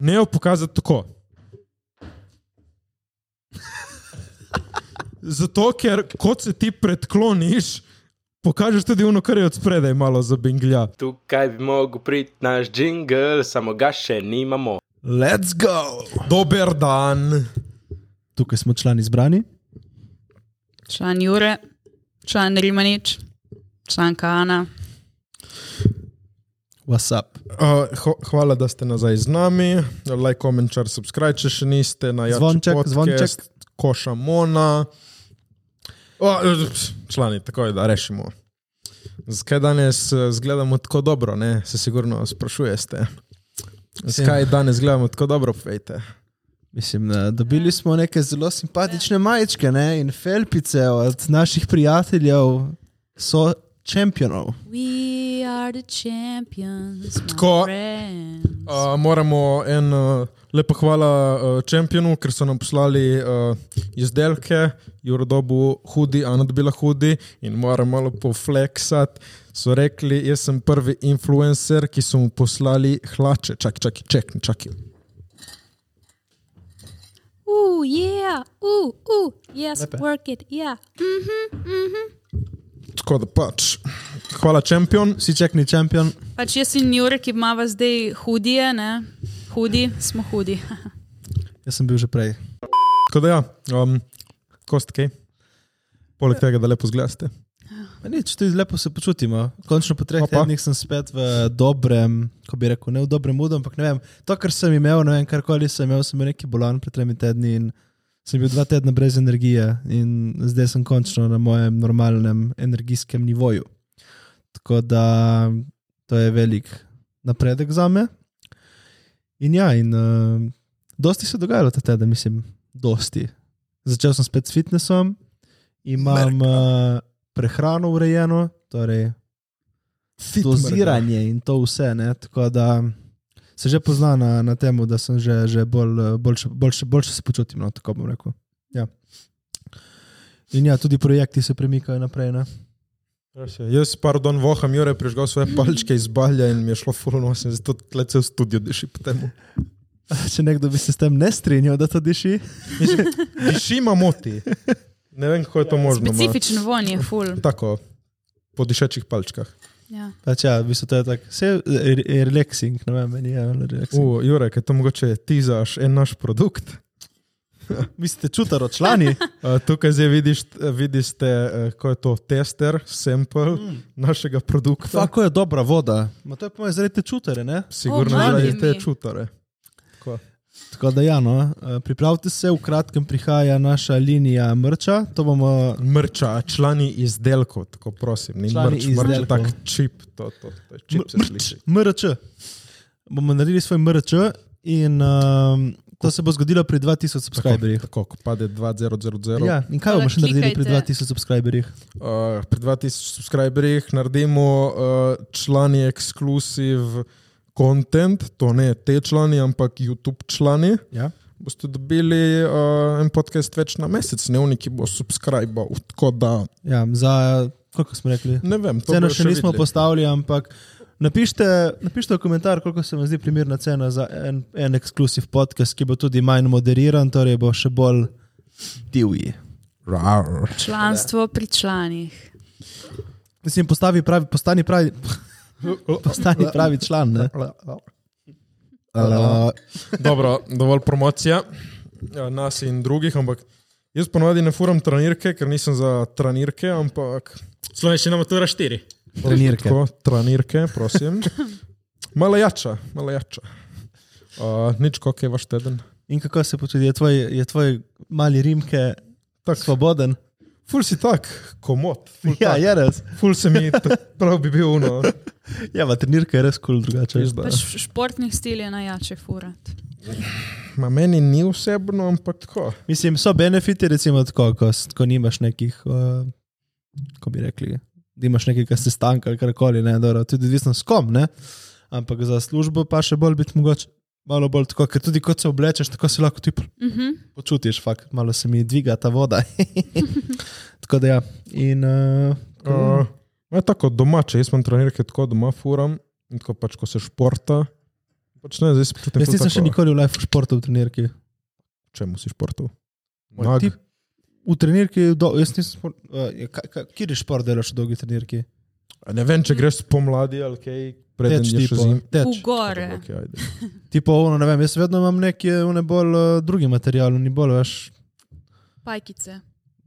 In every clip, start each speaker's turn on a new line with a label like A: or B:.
A: Ne jo pokazati tako. Zato, ker kot se ti predkloniš, pokažeš tudi ono, kar je od spredaj malo zabinglja.
B: Tukaj bi mogel priti naš jingle, samo ga še nimamo.
C: Let's go!
A: Dober dan.
C: Tukaj smo člani izbrani.
D: Član Jure, član Rimanič, članka Ana.
C: WhatsApp.
A: Uh, ho, hvala, da ste nazaj z nami. Like, comment, share, subscribe, če še niste na Jači
C: Zvonček,
A: podcast,
C: zvonček.
A: Koša Mona. O, pš, člani, tako je, da rešimo. Zakaj danes eh, zgledamo tako dobro, ne? se sigurno sprašujete. Zakaj danes gledamo tako dobro, fejte?
C: Mislim, da dobili smo neke zelo simpatične majčke ne? in felpice od naših prijateljev, so čempionov.
D: We are the champions.
A: Tako. Uh, moramo en uh, lepo hvala uh, Čempionu, ker so nam poslali uh, izdelke, Jurodobu hudi, Ana dobila hudi in moram malo pofleksati. So rekli, jaz sem prvi influencer, ki so mu poslali hlače. Čakaj, čakaj, čekni, čakaj.
D: Uh, yeah, uh, uh, yes,
C: Lepe.
D: work it, yeah.
A: Tako da pač. Hvala Čempion.
C: Vsi čekni čempion,
D: Pač jaz in Jure, ki imava zdaj hudije, ne? Hudi, smo hudi.
C: jaz sem bil že prej.
A: Tako da ja, um, kostke. Poleg tega, da lepo zgledate.
C: Ma Nič, tudi lepo se počutimo. Končno po treh
A: Opa.
C: tednih sem spet v dobrem, ko bi rekel, ne v dobrem udu, ampak ne vem. To, kar sem imel, ne vem, karkoli sem imel, sem bil neki bolan pred tremi tedni in sem bil dva tedna brez energije in zdaj sem končno na mojem normalnem energijskem nivoju. Tako da to je velik napredek za me. In ja, in uh, dosti se je dogajalo ta teden, mislim, dosti. Začel sem spet s fitnessom, imam uh, prehrano urejeno, torej doziranje in to vse. Ne? Tako da se že pozna na, na tem, da sem že, že bolj, eh, boljše, boljše, boljše se počutim. No, tako bom rekel. Ja. In ja, tudi projekti se premikajo naprej. Ne?
A: Res je. Jaz, pardon, voham Jure, prižgal svoje palčke iz balja in mi je šlo fulno, sem zato tle cel studio diši po tem.
C: Če nekdo bi se s tem ne strinjal, da to diši,
A: Dišima moti. Ne vem, kako je to možno. ma.
D: Specifičen von je, ful.
A: Tako, po dišečih palčkah.
D: Ja.
C: pač ja, v bistvu to je tako, vse je re- je relaxing, ne vem, meni je relaxing.
A: U, Jure, kaj to mogoče ti zaš en naš produkt?
C: Mislite, čutaro člani?
A: Uh, tukaj zdaj vidiš, vidiš te, uh, ko je to tester, sample mm. našega produkta.
C: Kako je dobra voda? Ma to je po mojem zaradi čutare, ne?
A: Sigurno
D: O,
A: oh,
D: mami
A: že te
D: mi.
A: čutare.
C: Tako da, ja, no, eh, pripravite se, v kratkem prihaja naša linija mrča. To bomo
A: Mrča, člani izdelkov, tako prosim, ni
C: Člani
A: mrč, mrč je
C: izdelkov.
A: tak čip, to, to, to je čip se
C: Mr-
A: sliši.
C: MRČ. Bomo naredili svoj MRČ in um, to se bo zgodilo pri 2000 subscriberjih.
A: Tako, ko pade 2000.
C: Ja, in kaj bomo še naredili pri 2000 subscriberjih?
A: Uh, pri 2000 subscriberjih naredimo uh, člani ekskluziv content, to ne te člani, ampak YouTube člani.
C: Ja.
A: Boste dobili uh, en podcast več na mesec, ne oni, ki bo subscribal. Tako da
C: Ja, za koliko smo rekli?
A: ne vem, to
C: Ceno
A: bojo
C: še nismo
A: videli.
C: postavili, ampak napište, napište v komentar, koliko se vam zdi primerna cena za en, en ekskluziv podcast, ki bo tudi manj moderiran, torej bo še bolj divji.
A: Rar.
D: Članstvo pri članih.
C: Mislim, postavi pravi, postani pravi, postani pravi član. Ne? Uh,
A: Dobro, dovolj promocija ja, nas in drugih, ampak jaz ponovadi ne furam trenirke, ker nisem za trenirke, ampak
E: Slovenščina matura 4.
C: trenirke.
A: Tako, trenirke, prosim. Malo jača, malo jača. Uh, nič, kako je vaš teden.
C: In kako se počuti, je tvoj, je tvoj mali Rimke
A: Tak,
C: svoboden?
A: ful si tak, komod. Ful,
C: Ja,
A: tak.
C: je res.
A: ful se mi, ta- prav bi bil no. uno.
C: Ja, ma, trenirka je res kul cool drugače.
D: Pač športnih stil je najjače furat.
A: Ma meni ni osebno, ampak tako.
C: Mislim, so benefiti, recimo, tako, ko, s- ko nimaš nekih, uh, ko bi rekli, da imaš nekega sestanka ali karkoli, ne, dobro, tudi odvisno s kom, ne. Ampak za službo pa še bolj biti mogoče, malo bolj tako, ker tudi kot se oblečeš, tako se lahko ti
D: Mhm.
C: počutiš, fakt, malo se mi dviga ta voda. tako da ja. In, uh,
A: Uh, je tako domače, jaz imam trenirke tako doma, furam. In tako pač, ko se športa, Pač ne, zdaj se počutim.
C: Jaz
A: ful
C: nisem še
A: tako,
C: nikoli v life športu v trenirki.
A: Čemu si športov?
C: Moj
A: Nag,
C: tip. V trenirki, do, jaz nisem. špor- eh, kaj- kaj- Kjer je šport delaš v dolgi trenirki?
A: A ne vem, če greš pomladi ali kaj, preden je še
C: tipo,
A: zim.
C: teč.
D: V gore.
A: Okay, ajde.
C: Tipo, ono, ne vem, jaz vedno imam neke, one bolj eh, drugi material, ni bolj več.
D: Pajkice.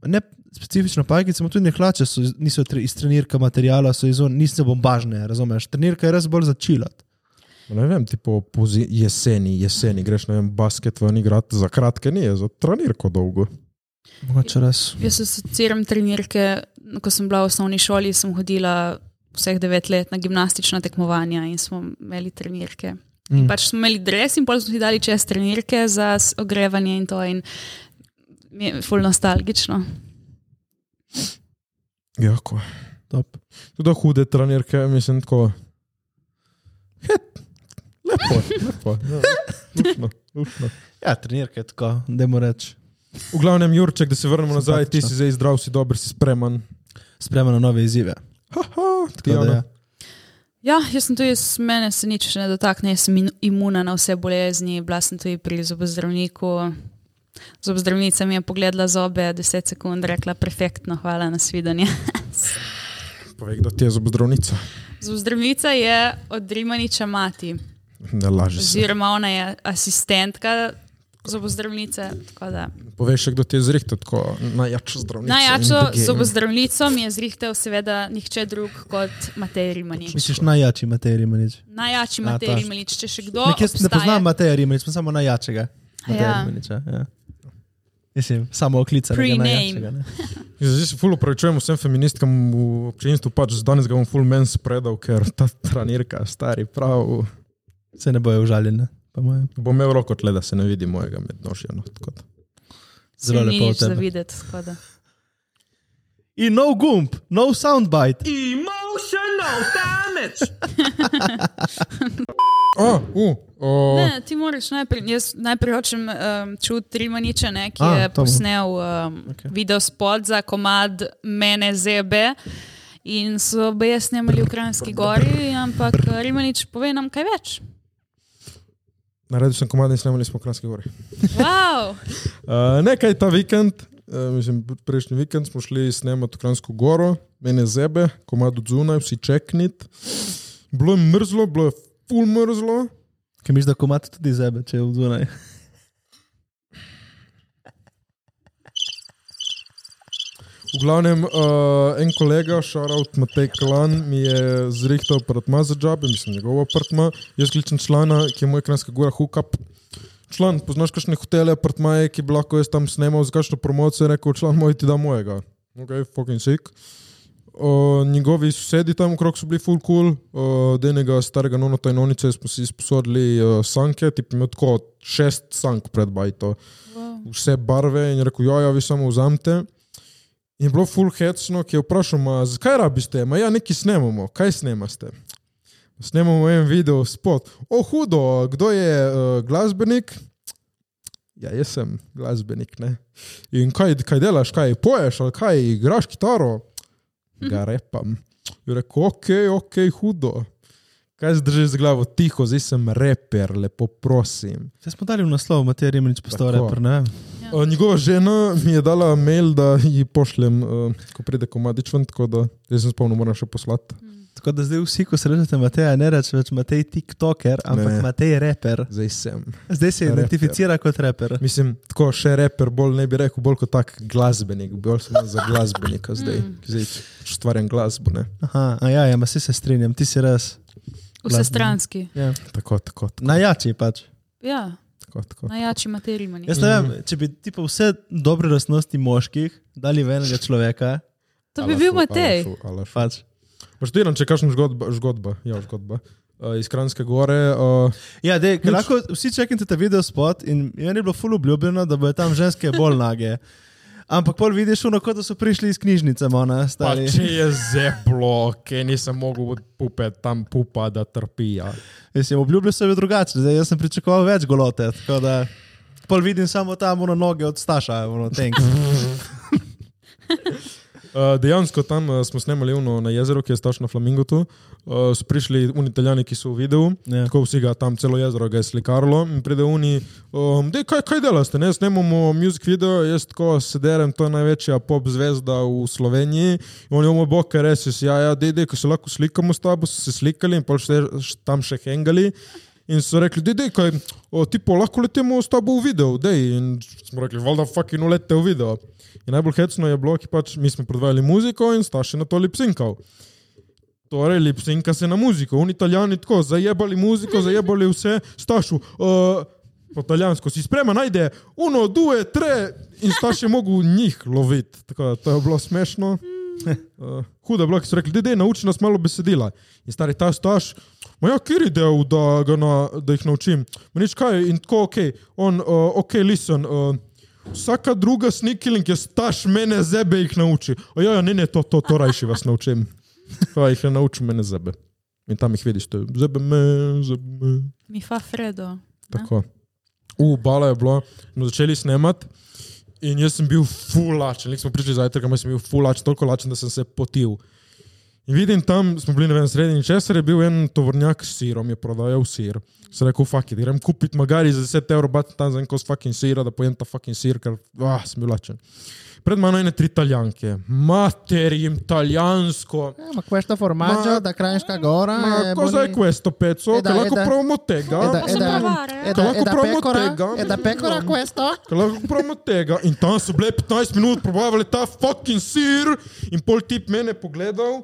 C: Ne specifično pajkice, ampak tudi ne hlače, so, iz- niso tre, iz trenirka materijala, so iz on, niso bombažne, razumeš? Trenirka je res bolj začilat.
A: Ne vem, tipo pozi, jeseni, jeseni greš na basket ven igrati, za kratke ni, za trenirko dolgo.
C: Mogoče
D: Ja.
C: res.
D: Jaz asociiram trenirke, ko sem bila v osnovni šoli, sem hodila vseh devet let na gimnastična tekmovanja in smo imeli trenirke.
C: Mm.
D: Mm. Pač smo imeli dres in pol smo si dali čez trenirke za s- ogrevanje in to. In mi je ful nostalgično.
A: Jako.
C: Top.
A: Ja, Tudi hude trenirke, mislim, tako. Het, lepo, lepo. Ja, lušno, lušno.
C: Ja, trenirka je tako, da mu reč.
A: V glavnem, Jurček, da se vrnemo nazaj, ti
C: Simpatično.
A: si zdaj zdrav, si dober, si spreman.
C: Spremljamo na nove izzive.
A: Haha,
C: Tako da ja.
A: Tijana.
D: Ja, jaz sem tudi, jaz- mene se nič ne dotakne, jaz sem in- imuna na vse bolezni, bila sem tudi pri zobozdravniku. Zobozdravnica mi je pogledala zobe 10 sekund, rekla perfektno, hvala, nasvidenje.
A: Povej, kdo ti je zobozdravnica.
D: Zobozdravnica je od Rimaniča mati.
A: Ne laži se.
D: Oziroma, ona je asistentka zobozdravnice. tako da.
A: Povej še, kdo ti je zrihtal, tako najjačo zdravnico.
D: Najjačo
A: in the game.
D: zobozdravnico mi je zrihtel, seveda, nihče drug kot Matej Rimanič.
C: Misliš najjači Matej Rimanič?
D: Najjači
C: A,
D: Matej
C: ta.
D: Rimanič, če še kdo.
C: Nek, jaz ne
D: obstaja-
C: poznam Mateja Rimanič, sem samo najjačega. Mateja
D: Ja.
C: Rimaniča. Ja. Mislim, samo oklica.
D: Prename.
A: Ja, Zdaj se fully opravičujem vsem feministkam v občinstvu, pač danes ga bom full men spredal, ker ta trenirka, stari, prav.
C: Se ne bojo užaljene, po mojem.
A: Bom imel roko tle, da se ne vidi mojega mednožja. No, tako da.
D: Saj
C: Zelo
D: ni
C: lepo
D: nič
C: od tebe.
D: za videti, tako da.
C: In no gumb, no soundbite.
E: Emotional damage!
A: A, u, o,
D: Ne, ti moraš najprej, jaz najprej hočem um, čuti Rimaniča, ne, ki
C: A,
D: A, je
C: to bo.
D: posnel um, okay. video spot za komad Mene zebe. In so obe snemali v Kranjski gori, ampak eh, Rimanič, pove nam kaj več.
A: naredil sem komad in snemali smo v Kranjski gori.
D: Wow.
A: Uh, nekaj ta vikend, uh, mislim, prejšnji vikend smo šli snemati v Kranjsko goro, mene zebe, komad od zunaj, vsi čeknit. Bilo je mrzlo, bilo je full mrzlo.
C: Ki misliš, da komat tudi zebe, če je v zunaj.
A: V glavnem, uh, en kolega, šarovt Matej Klan, mi je zrihtal apartma za džabe, mislim, njegov apartma. Jaz kličem člana, eh, ki je moj kranjska gora hookup. Član, poznaš kakšne hotele, apartmaje, ki bi lahko jaz tam snemal za kakšno promocijo, je rekel član moj ti da mojega. Ok, fucking sick. Uh, njegovi sosedi tam okrog so bili full cool, uh, denega starega nonota in nonice smo si izposodili uh, sanke, tip imel tako šest sank pred bajto
D: Wow.
A: vse barve in je rekel, "Ja, ja, vi samo vzamete. In je bilo full hecno, ki je vprašal, "Ma, zakaj rabiš te, ma ja, neki snemamo, kaj snemaste? Snemamo en video spot. O, hudo, kdo je uh, glasbenik? Ja, jaz sem glasbenik, ne. In kaj, kaj delaš, kaj poješ, ali kaj igraš kitaro? Ga repam. Je rekel, ok, ok, hudo. Kaj zdržiš z glavo? Tiho, zdaj sem reper, lepo prosim.
C: Se smo dali v naslov, Matej Rimanič postal
A: Tako.
C: reper, ne vem.
A: Uh, njegova žena mi je dala mail, da ji pošljem, uh, ko pride komadič ven, tako da zdaj sem spomnil, moram še poslati.
C: Tako da zdaj vsi, ko srečate Mateja, ne reče več Matej TikToker, ampak
A: Ne.
C: ne. Matej reper.
A: Zdaj sem.
C: Zdaj se
A: Reper.
C: identificira kot reper.
A: Mislim, tako še reper, bolj ne bi rekel, bolj kot tak glasbenik, bolj sem za
D: Mm.
A: glasbenika zdaj, ki zdaj pač ustvarjam glasbo. Ne?
C: Aha, a ja, ja, ma si se strinjam, ti si res.
D: Vsestranski.
C: Ja.
A: Tako, tako, tako.
C: Najjači pač.
D: Ja,
A: tako, tako.
D: najjači Matej Rimanič.
C: Jaz ne
A: Mhm.
C: vem, če bi ti pa vse dobre lastnosti moških dali v enega človeka,
D: To bi bil Matej.
C: pač.
A: Poštiram, če kažem žgodba, žgodba, ja, žgodba. Uh, iz Kranske gore. Uh,
C: Ja, dej,
A: Nič.
C: lahko vsi čekate ta video spot in meni je bilo ful obljubljeno, da bodo tam ženske bolj nage. Ampak pol vidiš, ono, kot da so prišli iz knjižnice, ona
A: pa,
C: stari.
A: če je zeblo, ki nisem mogel od pupe tam pupa, da ja. trpija.
C: Jaz sem obljubljal sebe drugače, zdaj jaz sem pričakoval več golote. tako Da, pol vidim samo tam ono noge od Staša, ono tenk.
A: Uh, dejansko tam uh, smo snemali uno na jezeru, ki je staš na Flamingotu. Uh, so prišli oni italijani, ki so v videu,
C: Ja.
A: yeah. tako vsi ga tam celo jezero ga je slikarilo in pride oni, um, dej, kaj, kaj delaste, ne snemamo muzik video, jaz tako sederem, to je največja pop zvezda v Sloveniji. In oni omo bog, ker res je, ja, ja, dej, dej, ko se lahko slikamo s tabo, so se slikali in pol še tam še hengali. In so rekli, da je kaj, o, tipo, lahko letimo s tabo v video, da je. In smo rekli, valjda fucking ulete v video. In najbolj hecno je bilo, ki pač mi smo predvajali muziko in starši na to lipsinkal. Torej, lipsinka se na muziko, oni italijani tako, zajebali muziko, zajebali vse, stašu. Uh, po italijansko si sprema, najde uno, due, tre in staš je mogel njih loviti. Tako da to je bilo smešno. Uh, huda blok so rekli, da je nauči nas malo besedila. In stari ta staž, ma ja, kjer je del, da, ga na, da jih naučim. Menič kaj in tako, ok, on, uh, ok, listen. Uh, Vsaka druga snikiling je staž mene zebe jih nauči. Ojo, ja, ne, ne, to, to, to rajši vas naučim. Pa jih ne naučim mene zebe. In tam jih vidiš, to je zebe me, zebe me.
D: Mi fa Fredo.
A: Tako. V bala je bilo, smo začeli snemati in jaz sem bil fulačen. Lik smo prišli zajtrk, ampak sem bil fulačen, toliko lačen, da sem se potil. In vidim tam, smo bili na enem sredini česar, je bil en tovornjak s sirom, je prodajal sir. Se rekel, fuck it, grem kupiti magari za 10 evrov, bat tam za en kos fucking sira, da pojem ta fucking sir, ker ah, sem bil lačen. Pred mano je ne tri italijanke, mater jim italijansko.
F: Ma questo formaggio
A: Ma-
F: da Kranjska Gora
A: Ma
F: è
A: cosa è
F: buoni-
A: questo pezzo?
F: E
A: Che
F: da- e
A: la
F: da-
A: compriamo
F: È da,
A: tega?
F: è
D: Posso
F: da-
D: provare? Mm.
F: è da- è
A: Te
F: Eh, da
A: lahko promo
F: pecora?
A: tega?
F: È da pecora questo?
A: Ker lahko kupujem tega. In tam so bile 15 minut, probavali ta fucking sir, in pol tip mene pogledal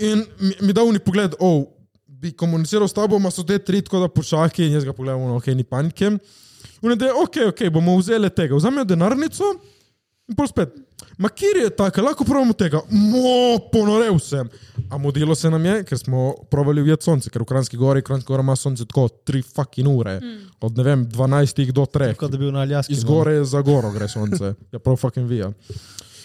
A: in mi, mi dal ni pogled, oh, bi komuniciral s tabo, ma so te tri tako da počaki in jaz ga pogledam, no, ok, ni panike. Unede, ok, ok, bomo vzeli tega, vzamejo denarnico in pol spet. Ma kjer je tako, lahko provamo tega, mo, ponorev sem. A modilo se nam je, ker smo provali ujeti sonce, ker v Kranski gori, Kranska gora ima sonce tako 3 fucking ure, mm. od ne vem, 12 do 3.
C: Kot da bi bil na Aljaski. no.
A: Iz gore za goro gre sonce, ja prav fucking vija.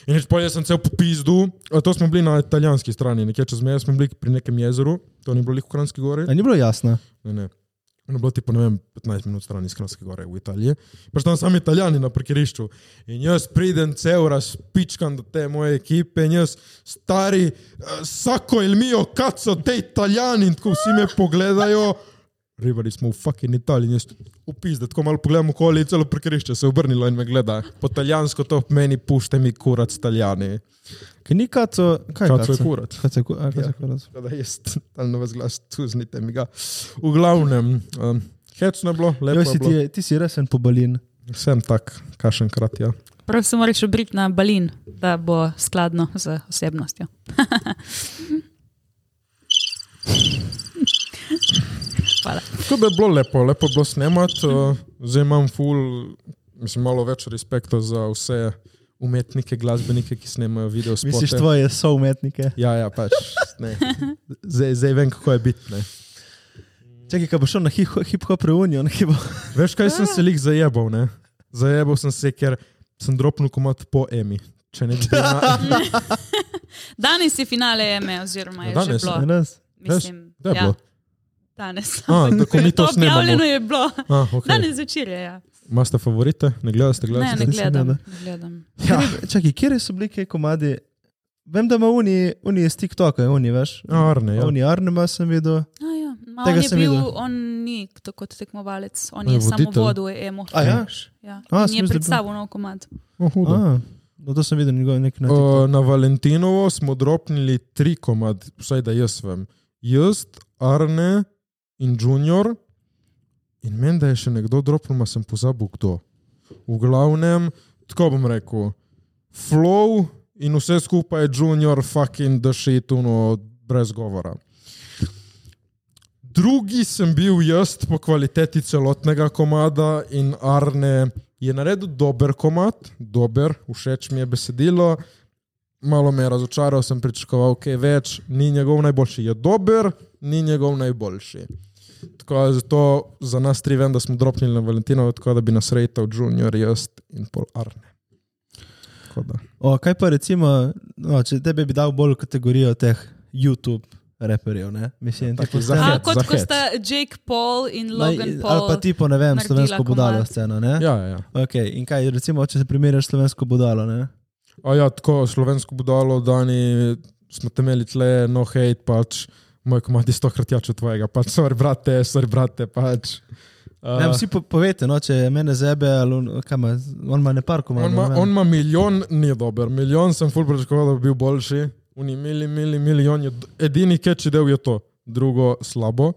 A: In reč pa jaz sem cel po pizdu, a to smo bili na italijanski strani, nekje čez meje smo bili pri nekem jezeru, to ni bilo lih v Kranski gori.
C: A ni bilo jasno?
A: Ne, ne. Ono je bilo tipo, ne vem, 15 minut stran iz Kranske gore v Italiji. Pač tam sami italijani na parkirišču. In jaz pridem cel razpičkan do te moje ekipe in jaz stari, vsako il mio, kad so te italijani in tako vsi me pogledajo. Ribari smo v fucking Italiji, in jaz upis, da tako malo pogledam okoli, celo parkirišče se je obrnilo in me gleda. Po italijansko to meni pušte mi kurac italijani.
C: Kaj ni kaco? Kaj
A: Kaco je kurac.
C: Kaco je ku- a, kaco je
A: Ja.
C: kurac.
A: Tako Da jaz talno vas glas, tu znite mi ga. V glavnem, um, hecno je bilo, lepo
C: Jo, si
A: je bilo.
C: ti, ti si resen pobalin.
A: Sem tak, kašen krat, ja.
D: Prav se moraš obriti na balin, da bo skladno z osebnostjo. Hvala.
A: Tako da je bilo lepo, lepo je bilo snemati, uh, zdaj imam ful, mislim, malo več respekta za vse umetnike, glasbenike, ki snemajo video spote.
C: Misliš, tvoje so umetnike?
A: Ja, ja, pač, ne. Zdaj, zdaj vem, kako je biti, ne.
C: Čakaj, kaj bo šel na hip- hip-hop reunion, ki bo.
A: Veš, kaj sem se lih zajebal, ne? Zajebal sem se, ker sem dropnil komat po Emi. Če ne bi bil na...
D: Danes je finale EME, oziroma je
A: Ja,
D: že
A: danes,
D: bilo.
C: Danes.
D: Mislim,
A: Kdaj je
D: ja,
A: bilo?
D: danes.
A: A, da, ko mi to snemamo.
D: objavljeno je bilo.
A: Ah, okay.
D: Danes večer je. Ja.
A: Imate favorite? Ne gledate,
D: Ne,
A: gledate?
D: ne
C: nisem
D: gledam.
C: gledal.
D: Ne gledam.
C: Ja. Čakaj, kje so bili kaj komadi? Vem, da ima Uni, Uni je z TikToka, Uni veš.
A: Arne, ja.
C: Uni Arnema sem videl.
D: A, ja. Ma,
C: Tega
D: on je
C: sem
D: bil,
C: videl.
D: on ni tako kot tekmovalec, on
A: On je
D: je samo
A: voditelj.
D: vodil EMO.
C: A ja?
D: Ja.
C: A,
D: A,
C: sem
D: je
C: mislil, da-
D: predstavil nov komad.
A: Oh, hudo.
C: A, No, to sem videl, njegov nek na TikToku.
A: O, Eh, na Valentinovo smo dropnili tri komad, vsaj da jaz vem. Jaz, Arne in Junior. In meni, da je še nekdo dropnil, ma sem pozabil kdo. V glavnem, tako bom rekel, flow in vse skupaj je Junior fucking da še ituno brez govora. Drugi sem bil jaz po kvaliteti celotnega komada in Arne je naredil dober komad, dober, všeč mi je besedilo. Malo me je razočaral, sem pričakoval kaj več, ni njegov najboljši, je dober, ni njegov najboljši. Tako da zato za nas tri vem, da smo dropnili na Valentinovo, tako da bi nas rejtal Junior, jaz in pol Arne. Tako da.
C: O, kaj pa recimo, no, če tebi bi dal bolj v kategorijo teh YouTube reperjev, ne? Mislim, ja,
A: taki
C: tako
A: za
D: A,
A: hec,
D: kot
A: za
D: ko
A: hec.
D: sta Jake Paul in Logan Paul.
C: Ali pa tipo, ne vem,
D: naredila
C: slovensko budalo
D: komad.
C: sceno, ne?
A: Ja, ja.
C: Okay, in kaj, recimo, če se primerjaš s slovensko budalo, ne?
A: Uh, A ja, tako slovensko budalo, Dani, smo temeli tle, no hate, pač moj komad je stokrat jače od tvojega, pač sorry, brate, sorry, brate, pač. Uh,
C: Ne, vsi po, povete, no, če mene zebe, ali on, kaj ima, on ima ne par
A: on
C: komandov.
A: ima- on ima milijon, ni dober, milijon sem full pričakoval, da bi bil boljši, uni mili, mili, milijon je, d- edini keči del je to, drugo slabo,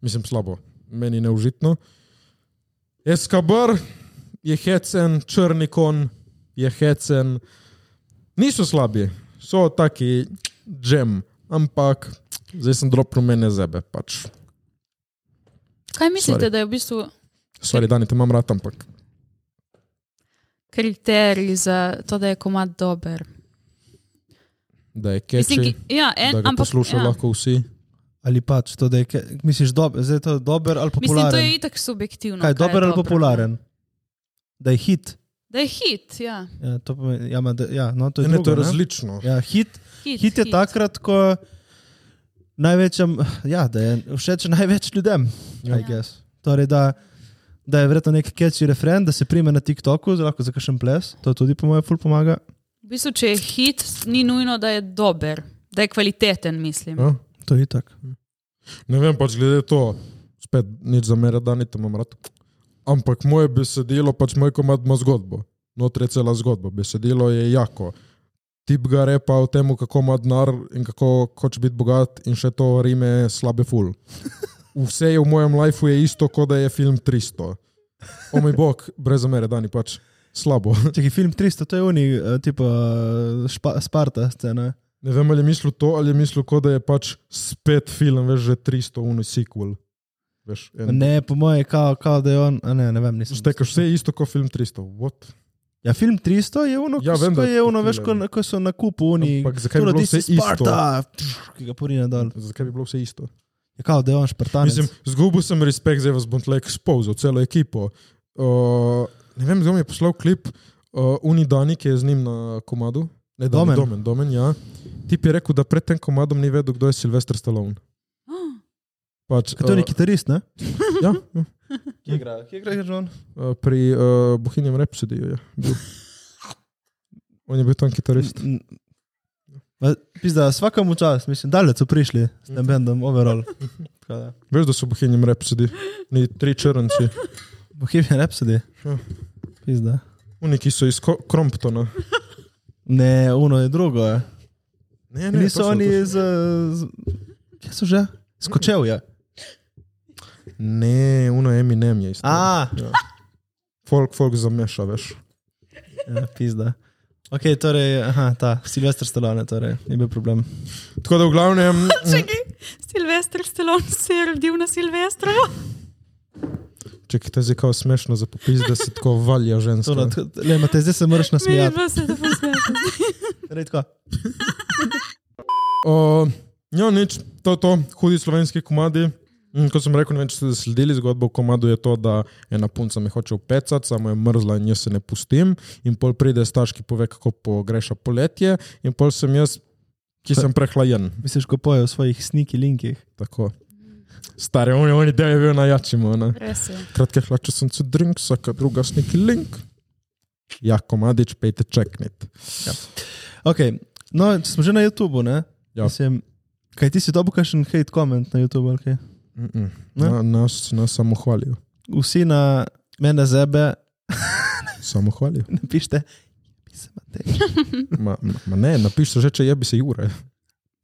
A: mislim slabo, meni neužitno. Eskabr je hecen, črni kon je hecen, niso slabi, so taki džem, ampak zdaj sem dropnil mene zebe, pač.
D: Kaj mislite,
A: Sorry.
D: da je v bistvu
A: Sorry, Dani, te imam rad, ampak.
D: kriterij za to, da je komad dober?
A: Da je
D: Mislim,
A: keči,
D: ki, ja, en,
A: da ga
D: ampak
A: poslušajo
D: ja.
A: lahko vsi.
C: Ali pač to, da je, ke- misliš, dober, zdaj je to dober ali popularen?
D: Mislim, to je itak subjektivno.
C: kaj, dober ali
D: dobro.
C: popularen? Da je hit.
D: Da je hit, ja.
C: Ja, to pomeni, ja, ma da, ja, no, to je,
A: Ne, ne, to
C: drugo,
A: je različno.
C: Ja, hit,
D: Hit,
C: hit je hit. takrat, ko največjem, ja, da je všeč največ ljudem. I guess. Torej, da, da je verjetno nek catchy referen, da se prime na TikToku, zelo lahko za kakšen ples, to tudi po mojem ful pomaga.
D: V bistvu, če je hit, ni nujno, da je dober, da je kvaliteten,
C: Hm.
D: mislim.
A: Ja.
C: To je tako.
A: Ne vem, pač glede to, spet nič za mere, da ni tam imam rad. Ampak moje besedilo, pač moj komad ima zgodbo, notri je cela zgodba, besedilo je jako. Tip ga repa o tem, kako ima denar in kako hoče biti bogat, in še to rime slabe ful. Vse je v mojem lifeu je isto, kot da je film 300. O moj bog, brez zamere, Dani, pač slabo.
C: Čekaj, film 300, to je uni, eh, tipo eh, špa, Sparta scena.
A: Ne vem, ali je mislil to, ali je mislil, kot da je pač spet film, veš, že 300, uno sequel. Veš, en-
C: Ne, po mojem, kao, kao da je on, a ne, ne vem, nisem.
A: Ja. Štekaš vse isto kot film 300. What?
C: Ja, film 300 je ono,
A: Ja,
C: ja,
A: vem,
C: vem,
A: da je
C: je ono
A: to
C: veš,
A: film,
C: ko, ko so na kupu oni.
A: Ampak zakaj bi
C: "Tule,
A: bilo
C: this
A: vse
C: is
A: isto?"
C: Sparta, pš, ki ga porine dol.
A: Zakaj bi bilo vse isto?
C: Ja, kao da je on Spartan.
A: Mislim, zgubil sem respekt, zdaj vas bom tle ekspozil, celo ekipo. Uh, ne vem, kdo mi je poslal klip, uh, Unidani, ki je z njim na komadu. Ne, Dani,
C: Domen.
A: Domen, Domen ja. Ti je rekel, da pred tem komadom ni vedel, kdo je Silvestr Stallone.
D: Oh,
A: Pač,
C: Kaj to je kitarist, ne?
A: uh, ja, ja,
C: Kje igra, kje igra John?
A: uh, pri uh, Bohinjem Repsediju je. Bil. On je bil tam kitarist.
C: Pizda, svakamu čas, mislim, dalje so prišli s tem bendom, overall. Tako da.
A: Veš, da so Bohinjem Repsedi, ni tri črnci,
C: Bohemian Rhapsody.
A: Ja.
C: Pizda.
A: oni, ki so iz Ko- Cromptona.
C: Ne, uno je drugo. Je.
A: Ne,
C: Ne,
A: to
C: Niso
A: so-
C: oni
A: to so-
C: z, z... Kje so že? Skočev je.
A: Ne, uno Eminem je isto. Ja.
C: A,
A: Folk, folk zameša, veš.
C: ja, pizda. Ok, torej, aha, ta Silvestr Stallone, torej, ni bil problem.
A: Tako da v glavnem, mm,
D: Silvestr Stelon se je rodil na Silvestru.
A: če ti je kao smešno za popis, da si tako valja ženska.
C: Tole, tako- Torej, Le, Matej, zdaj se moraš
D: Meni
C: nasmejati.
D: pa se to posmeje.
C: Redko.
A: Uh, ja, nič, to je to, hudi slovenski komadi. In kot sem rekel, ne vem, če ste sledili zgodbo v komadu, je to, da ena punca me hoče upecati, samo je mrzla in jaz se ne pustim. In pol pride staž, ki pove, kako pogreša poletje, in pol sem jaz, ki sem prehlajen.
C: Misliš, ko pojejo v svojih sniki linkih.
A: Tako. Stari, oni, oni del je bil najjačimo. Ne?
D: Res je.
A: kratke hlače sem se drink, vsaka druga sniki link. Ja, komadič, pejte čeknit.
C: Okay. No, če smo že na YouTubu, ne?
A: Ja.
C: Mislim, kaj ti si dobil kakšen hate comment na YouTubu? ali kaj?
A: Mm -mm. Na, nas, nas samo hvalijo.
C: Vsi na mene zebe
A: Samo hvalijo.
C: napište. "Jebi se, Matej."
A: Ma, ma, ma ne, napiši že, če je bi se jure.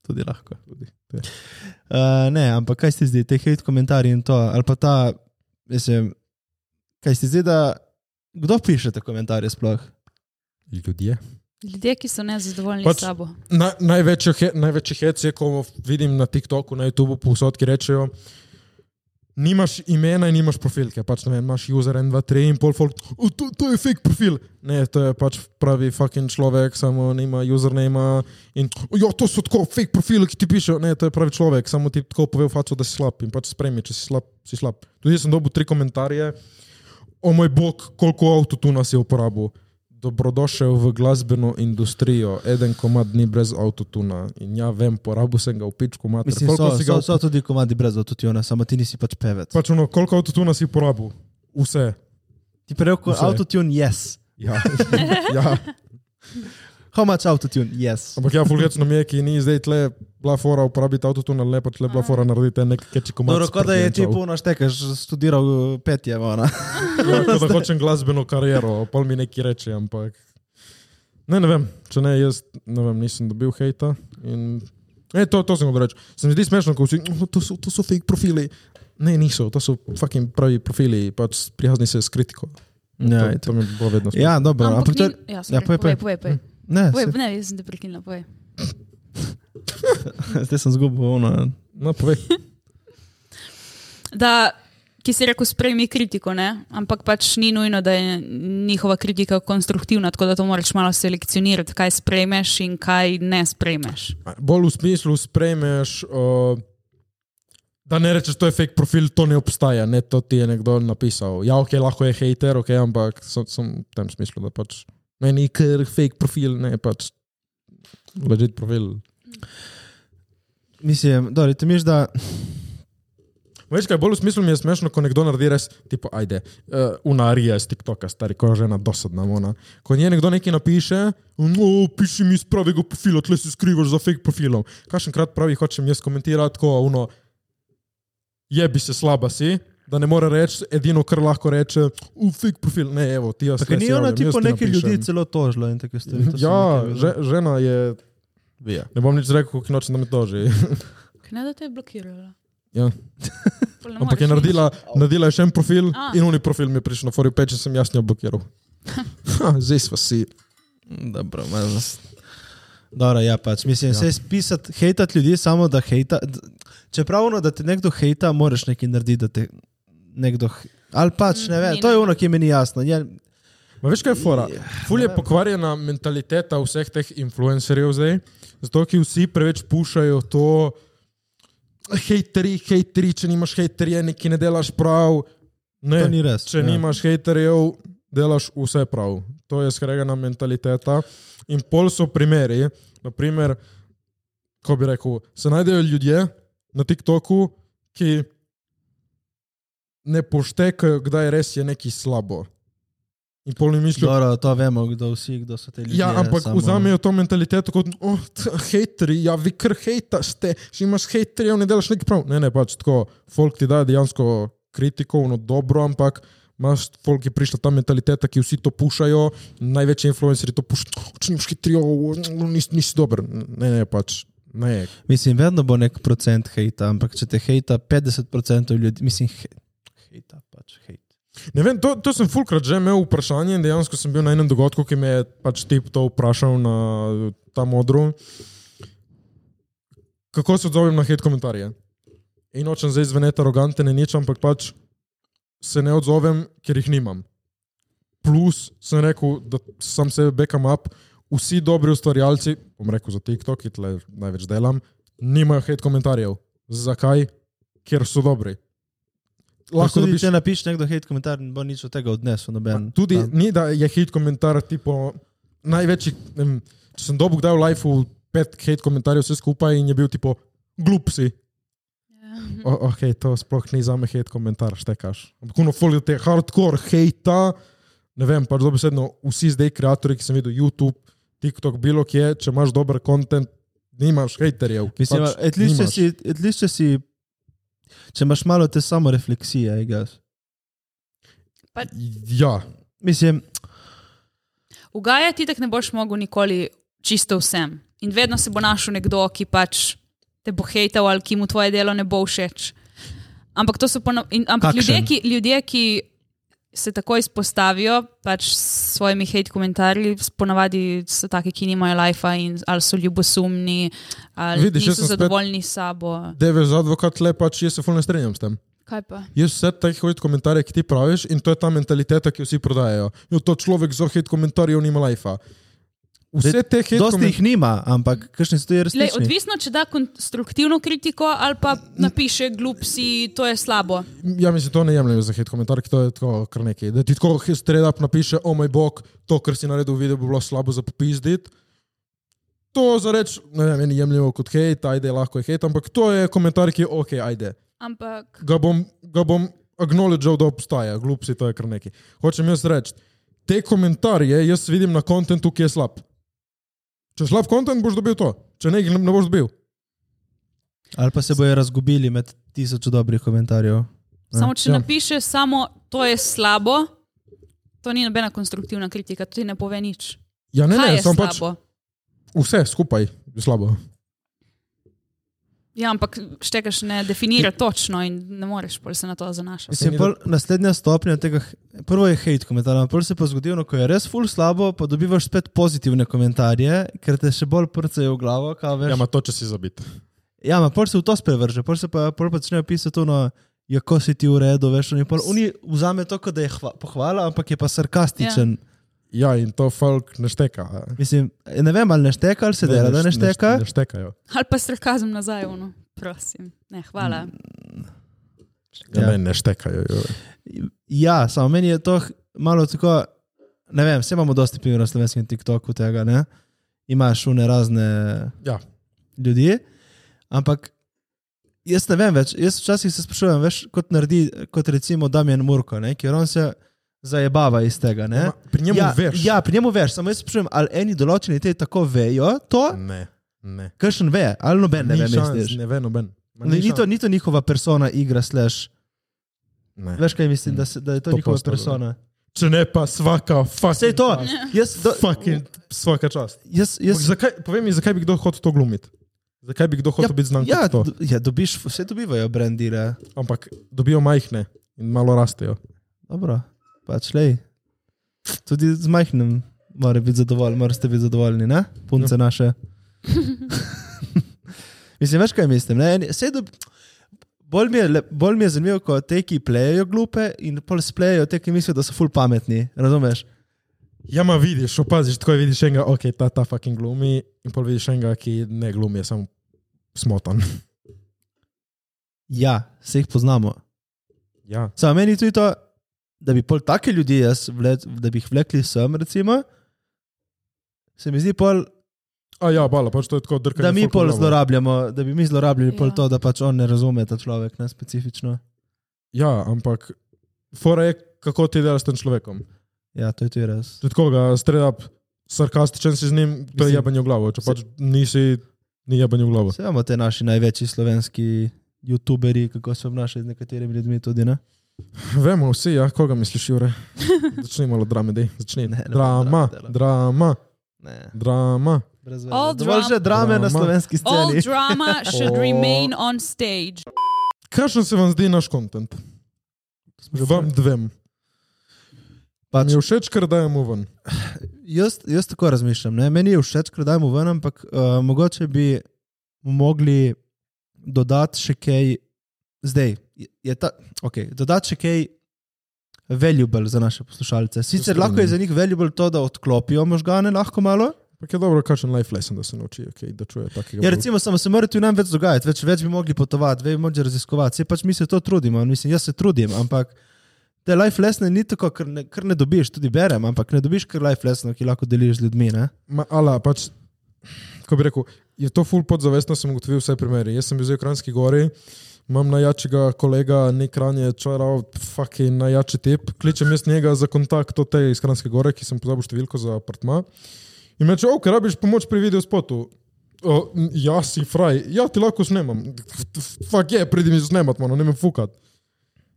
C: Tudi lahko.
A: Tudi, to je.
C: Uh, ne, ampak kaj se zdi, te hate komentarji in to, ali pa ta, mislim, kaj se zdi, da kdo piše te komentarje sploh?
A: Ljudje.
D: Ljudje, ki so nezadovoljni
A: Pač-
D: s sabo.
A: Na, največjo he- največji hec je, ko vidim na TikToku, na YouTubu, povsod, ki rečejo, nimaš imena in nimaš profilke. Pač, ne vem, imaš user 1, 2, 3 in pol folk. "O, To, to je fake profil. Ne, to je pač pravi fucking človek, samo nima username in "O, jo, to so tako fake profili, ki ti pišejo. Ne, to je pravi človek, samo ti tako pove v faco, da si slab in pač spremi, če si slab, si slab. Tudi jaz sem dobil tri komentarje. O moj bog, koliko avtotuna si uporabil. Dobrodošel v glasbeno industrijo, eden komad ni brez avtotuna. In ja, vem, porabil sem ga v pičku, mater.
C: Mislim,
A: Koliko
C: so,
A: si ga
C: so, so tudi komadi brez avtotuna, samo ti nisi pač pevec.
A: Pač ono, koliko avtotuna si porabil? Vse.
C: Ti prejel kot
A: Vse.
C: Ja, avtotune, yes.
A: Ja. ja.
C: How much autotune? Yes.
A: Ampak ja, fulgecno mi je, ki ni zdaj tle bila fora uporabiti avtotune, ali ne pač le bila fora narediti en nek keči komad.
C: Dobro,
A: s
C: kot da je ti
A: prdijančev.
C: puno štekaš, študiral uh, petje, ona.
A: Ja, kot da hočem glasbeno kariero, pol mi neki reče, ampak. Ne, ne vem, če ne, jaz ne vem, nisem dobil hejta. In... E, to, to sem hotel reči. Se mi zdi smešno, ko vsi, "Oh, to so, to so fake profili. Ne, niso, to so fucking pravi profili, pač prijazni se s kritiko.
C: Ja,
A: to, to mi bo vedno. smešno.
C: Ja, dobro, ampak, ampak
D: Ampak
C: to
D: ni...
C: je...
D: Ja,
C: Ja,
D: sorry,
C: povej,
D: povej,
C: povej.
D: povej, povej.
C: Ne,
D: Povej,
C: se,
D: ne, jaz sem te prekinila, povej.
C: zdaj sem zgubil ono.
A: No, povej.
D: Da, ki si rekel, sprejmi kritiko, ne? ampak pač ni nujno, da je njihova kritika konstruktivna, tako da to moraš malo selekcionirati, kaj sprejmeš in kaj ne sprejmeš.
A: Bolj v smislu sprejmeš, uh, da ne rečeš, to je fake profil, to ne obstaja, ne, to ti je nekdo napisal. Ja, ok, lahko je hater, ok, ampak sem, sem v tem smislu, da pač meni ker fake profil, ne pač ležit profil.
C: Mislim, dobro, ti misliš, da...
A: Veš kaj, bolj v smislu mi je smešno, ko nekdo naredi res, tipo, ajde, uh, unarija iz TikToka, stari, ko je žena dosadna, ona. Ko nje nekdo nekaj napiše, no, piši mi iz pravega profila, tle se skrivaš za fake profilom. Kašenkrat pravi, hočem jaz komentirati, ko uno, jebi se slaba si. Da ne more reči, edino, kar lahko reče, uf, fake profil, ne, evo, ti jaz.
C: Tako
A: res
C: ni ona
A: javljam, jaz
C: tipo
A: ti
C: nekaj
A: napišem.
C: ljudi celo tožila in tako stvari. to sem
A: Ja,
C: nekaj
A: že,
C: videl.
A: žena je,
C: Vije.
A: ne bom nič rekel, ki noče, da me toži.
D: Kaj ne, da te je blokirala?
A: Ja.
D: Pol ne
A: Ampak je
D: moreš nič.
A: naredila, naredila je še en profil
D: A.
A: in unni profil mi je prišel na forju peč in sem jasno blokiral. Ha, Zdaj smo si.
C: Mm, Dobro, malo. Dobro, ja, pač. Mislim, ja. pisati, hejtati ljudi, samo da hejta. d- Čeprav ono, da te nekdo hejta, moraš nekaj narediti, da te nekdo. h- Ali pač ne vem,
D: Mm, ni,
C: to je
D: ne.
C: ono, ki meni jasno. Je,
A: Ma veš kaj je fora? Ful je pokvarjena mentaliteta vseh teh influencerjev zdaj, zato ki vsi preveč pušajo to, hejteri, hejteri, če nimaš hejterje, nekaj ne delaš prav. Ne,
C: To ni res,
A: Če
C: ja.
A: ja. nimaš hejterjev, delaš vse prav. To je skregana mentaliteta. In pol so primeri, naprimer, ko bi rekel, se najdejo ljudje na TikToku, ki ne poštekajo, kdaj res je nekaj slabo. In pol jim mislijo,
C: Dobro, to vemo, kdo vsi, kdo so te ljudje.
A: Ja, ampak
C: samo-
A: vzamejo to mentaliteto kot oh, t- hejteri, ja, vi kar hejtaste, že imaš hejterjev, ne delaš nekaj prav. Ne, ne, pač tako, folk ti da dejansko kritiko, no dobro, ampak imaš folk je prišla ta mentaliteta, ki vsi to pušajo, največji influencerji to pušajo, "Oh, če nimaš hejterjev, oh, nisi, nisi dober. Ne, ne, pač. Ne,
C: Mislim, vedno bo nek procent hejta, ampak če te hejta 50% ljudi, mislim, he, hejta pač hejt.
A: Ne vem, to, to sem fulkrat že imel vprašanje in dejansko sem bil na enem dogodku, ki me je pač tip to vprašal na tam odru. Kako se odzovem na hate komentarje? In nočem zdaj zveneti aroganten in nič, ampak pač se ne odzovem, ker jih nimam. Plus sem rekel, da sam sebe backam up, vsi dobri ustvarjalci, bom rekel za TikTok, ki tle največ delam, nimajo hate komentarjev. Zakaj? Ker so dobri.
C: Lahko tudi,
A: dobiš-
C: če napiš nekdo hejt komentar, ne bo nič od tega odnesel, noben.
A: Tudi
C: Tam.
A: ni, da je hit komentar, tipo, največji. ne vem, Če sem dobil kdaj v lifeu pet hit komentarjev, vse skupaj in je bil tipo, glup si. O, ok, to sploh ni za me hit komentar, štekaš. Ampak ono folijo te hardcore hejta, ne vem, pač dobesedno vsi zdaj kreatori, ki sem videl YouTube, TikTok, bilo kje, če imaš dober kontent, nimaš hejterjev.
C: Mislim,
A: pač
C: pač etlišče
A: nimaš.
C: si, etlišč, če si, če imaš malo te samo refleksije, I guess.
A: Ja,
C: Mislim,
D: Ugajati tako ne boš mogel nikoli čisto vsem. In vedno se bo našel nekdo, ki pač te bo hejtal ali ki mu tvoje delo ne bo všeč. Ampak to so ponovno. Ampak
C: Kakšen?
D: ljudje ki, ljudje, ki se tako izpostavijo pač s svojimi hate komentarji, s- ponavadi so taki, ki nimajo lajfa in ali so ljubosumni, ali
A: Vidiš,
D: Vidiš,
A: jaz
D: niso
A: sem spet-
D: zadovoljni s sabo.
A: Deve za advokat le pač jaz se fulno strinjam s tem.
D: Kaj pa?
A: Jaz vse te hojit komentarje, ki ti praviš, in to je ta mentaliteta, ki jo vsi prodajajo. Jo, to človek za hojit komentarjev nima lajfa. Vse
C: zdaj,
A: te hojit
C: dosti jih nima, ampak kakšni so ti
D: Lej,
C: resnični?
D: odvisno, če da konstruktivno kritiko ali pa napiše, glup si, to je slabo.
A: Ja, mislim, to ne jemljem za hojit komentar, ki to je tako kar nekaj. Da ti tako straight up napiše, o oh moj bog, to, kar si naredil, video bi bilo slabo za popizdit. To za reč, ne vem, meni jemljivo kot hejt, ajde, lahko je hejt, ampak to je komentar, ki je ok, ajde.
D: Ampak
A: ga bom, ga bom acknowledgeal, da obstaja, glup si to je kar neki. Hočem jaz reči, te komentarje jaz vidim na kontentu, ki je slab. Če slab kontent, boš dobil to. Če ne, jih ne ne boš dobil.
C: Ali pa se bojo razgubili med tisoč dobrih komentarjev.
D: Samo če
A: ja.
D: napiše, samo to je slabo, to ni nobena konstruktivna kritika, to ti ne pove nič.
A: Ja, ne,
D: Kaj
A: ne,
D: je
A: samo pač
D: slabo?
A: vse skupaj je slabo.
D: Ja, ampak štekaš ne definira točno in ne moreš pol se na to zanašati.
C: Mislim, pol, naslednja stopnja tega, h- prvo je hate komentar, ampak prvo se pa zgodi, ono, ko je res full slabo, pa dobivaš spet pozitivne komentarje, ker te še bolj prcajo v glavo. kao, veš.
A: Ja, ima to, če si zabit.
C: Ja, ma pol se v to sprevrže, pol se pa pol pa začnejo pisati ono, kako si ti v redu, veš, oni, pol, oni vzame to, kot da je hva, pohvala, ampak je pa sarkastičen. Ja.
A: Ja, in to folk ne šteka. a.
C: Mislim, ja, ne vem, ali ne šteka, ali se dela, da ne šteka.
A: Ne štekajo.
D: Ali pa sarkazem nazaj, ono. prosim. Ne, hvala.
A: Ja.
C: Ja.
A: Ne, ne štekajo. jo.
C: Ja, samo meni je to h- malo tako, ne vem, vse imamo dosti primerov na slovenskem TikToku tega, ne? Imaš une razne
A: Ja.
C: ljudi, ampak jaz ne vem več. Jaz včasih se sprašujem, veš, kot naredi, kot recimo Damien Murko, ne? ker on se zajebava iz tega. Ne?
A: Ma, Pri njemu
C: ja,
A: veš.
C: Ja, pri njemu veš, samo jaz se sprašujem, ali eni določeni te tako vejo to,
A: Ne, ne.
C: kršen ve, ali noben ne ve,
A: Mm. Ni šans,
C: misliš.
A: ne ve noben. Ma,
C: Ni, ni,
A: šans.
C: to, ni to njihova persona, igra, slash.
A: Ne.
C: Veš, kaj mislim, da, se, da je
A: Mm. To
C: to, to njihova
A: postalo.
C: persona.
A: Če ne, pa vsaka, fuck.
C: Vse je to. Jaz, do,
A: Fucking vsaka čast.
C: jaz,
A: Jaz...
C: jaz,
A: Zakaj, povej mi, zakaj bi kdo hotel to glumiti? Zakaj bi kdo hotel ja, biti znan
C: ja,
A: ja, kot to?
C: do- ja, dobiš, vse dobivajo brandire.
A: Ampak dobijo majhne in malo rastejo.
C: Dobro, pač lej. Tudi z majhnim mora biti zadovoljen, morate biti zadovoljni, ne? Punce naše. mislim, veš kaj mislim. Ne? Eni- saj dob- Bolj mi, je, le- bolj mi je zanimivo, ko te, ki plejejo glupe in pol splejejo te, ki mislijo, da so ful pametni. Razumeš?
A: Ja, ma vidiš, opaziš, tako je, vidiš enega, ok, ta, ta fucking glumi, in pol vidiš enega, ki ne glumi, je samo smotan.
C: Ja, se jih poznamo.
A: Ja,
C: Samo meni je tudi to, da bi pol take ljudi, jaz, vle, da bi jih vlekli sem, recimo, se mi zdi pol,
A: A ja bala, pač to je tako drkanje.
C: da mi
A: folku v
C: pol
A: glavo.
C: zlorabljamo, da bi mi zlorabljali pol
D: Ja.
C: to, da pač on ne razume ta človek, ne specifično.
A: Ja, ampak fora je, kako ti delaš s tem človekom.
C: Ja, to je tudi res.
A: Tudi koga, streda, sarkastičen si z njim, to je
C: Mislim,
A: jebanje v glavo. Če
C: se-
A: pač nisi, ni jebanje v glavo.
C: Vse imamo te naši največji slovenski youtuberi, kako se obnašajo z nekaterimi ljudmi tudi, ne?
A: Vemo vsi, ja, koga misliš, Jure. Začni malo drame, dej. Začni.
C: Ne, ne bom
A: drama,
C: drame delal.
A: drama,
C: Ne,
A: drama.
C: brez
D: All
C: veze. Dovolj že drame na
A: drama.
C: slovenski
D: All
C: sceni.
D: drama should
A: O.
D: remain on stage.
A: Kakšen se vam zdi naš kontent? Vam dvem.
C: Pač
A: Mi je všeč, ker dajemo ven.
C: jaz, jaz tako razmišljam. Ne? Meni je všeč, ker dajmo ven, ampak uh, mogoče bi mogli dodati še kaj zdaj. Je, je ta, okay, dodati še kaj valuable za naše poslušalce. Sicer lahko je za njih valuable to, da odklopijo možgane, lahko malo.
A: Pa je dobro, kakšen life lesson, da se naučijo, okay, da čujejo takega.
C: Ja, recimo, samo se mora tu nam več dogajati, več, več bi mogli potovati, več bi mogli raziskovati. Se pač mi se to trudimo, mislim, jaz se trudim, ampak. Te life lessons ni tako, ker ne, ker ne dobiš, tudi berem, ampak ne dobiš kar life lessons, ki lahko deliš z ljudmi. Ne?
A: Ma, ala, pač, ko bi rekel, je to full podzavestno, sem ugotovil vse primere. Jaz sem bil zdaj v Kranjski gori, imam najjačega kolega, nek ranje čaral, fucking najjači tip. Kličem jaz njega za kontakt od te iz Kranjske gore, ki sem pozabil številko za apartma. In reče, ok, rabiš pomoč pri videu spotu. O, m, ja, si fraj, ja, ti lahko snemam. Fak je, pridi mi snemat, mano, ne me fukat.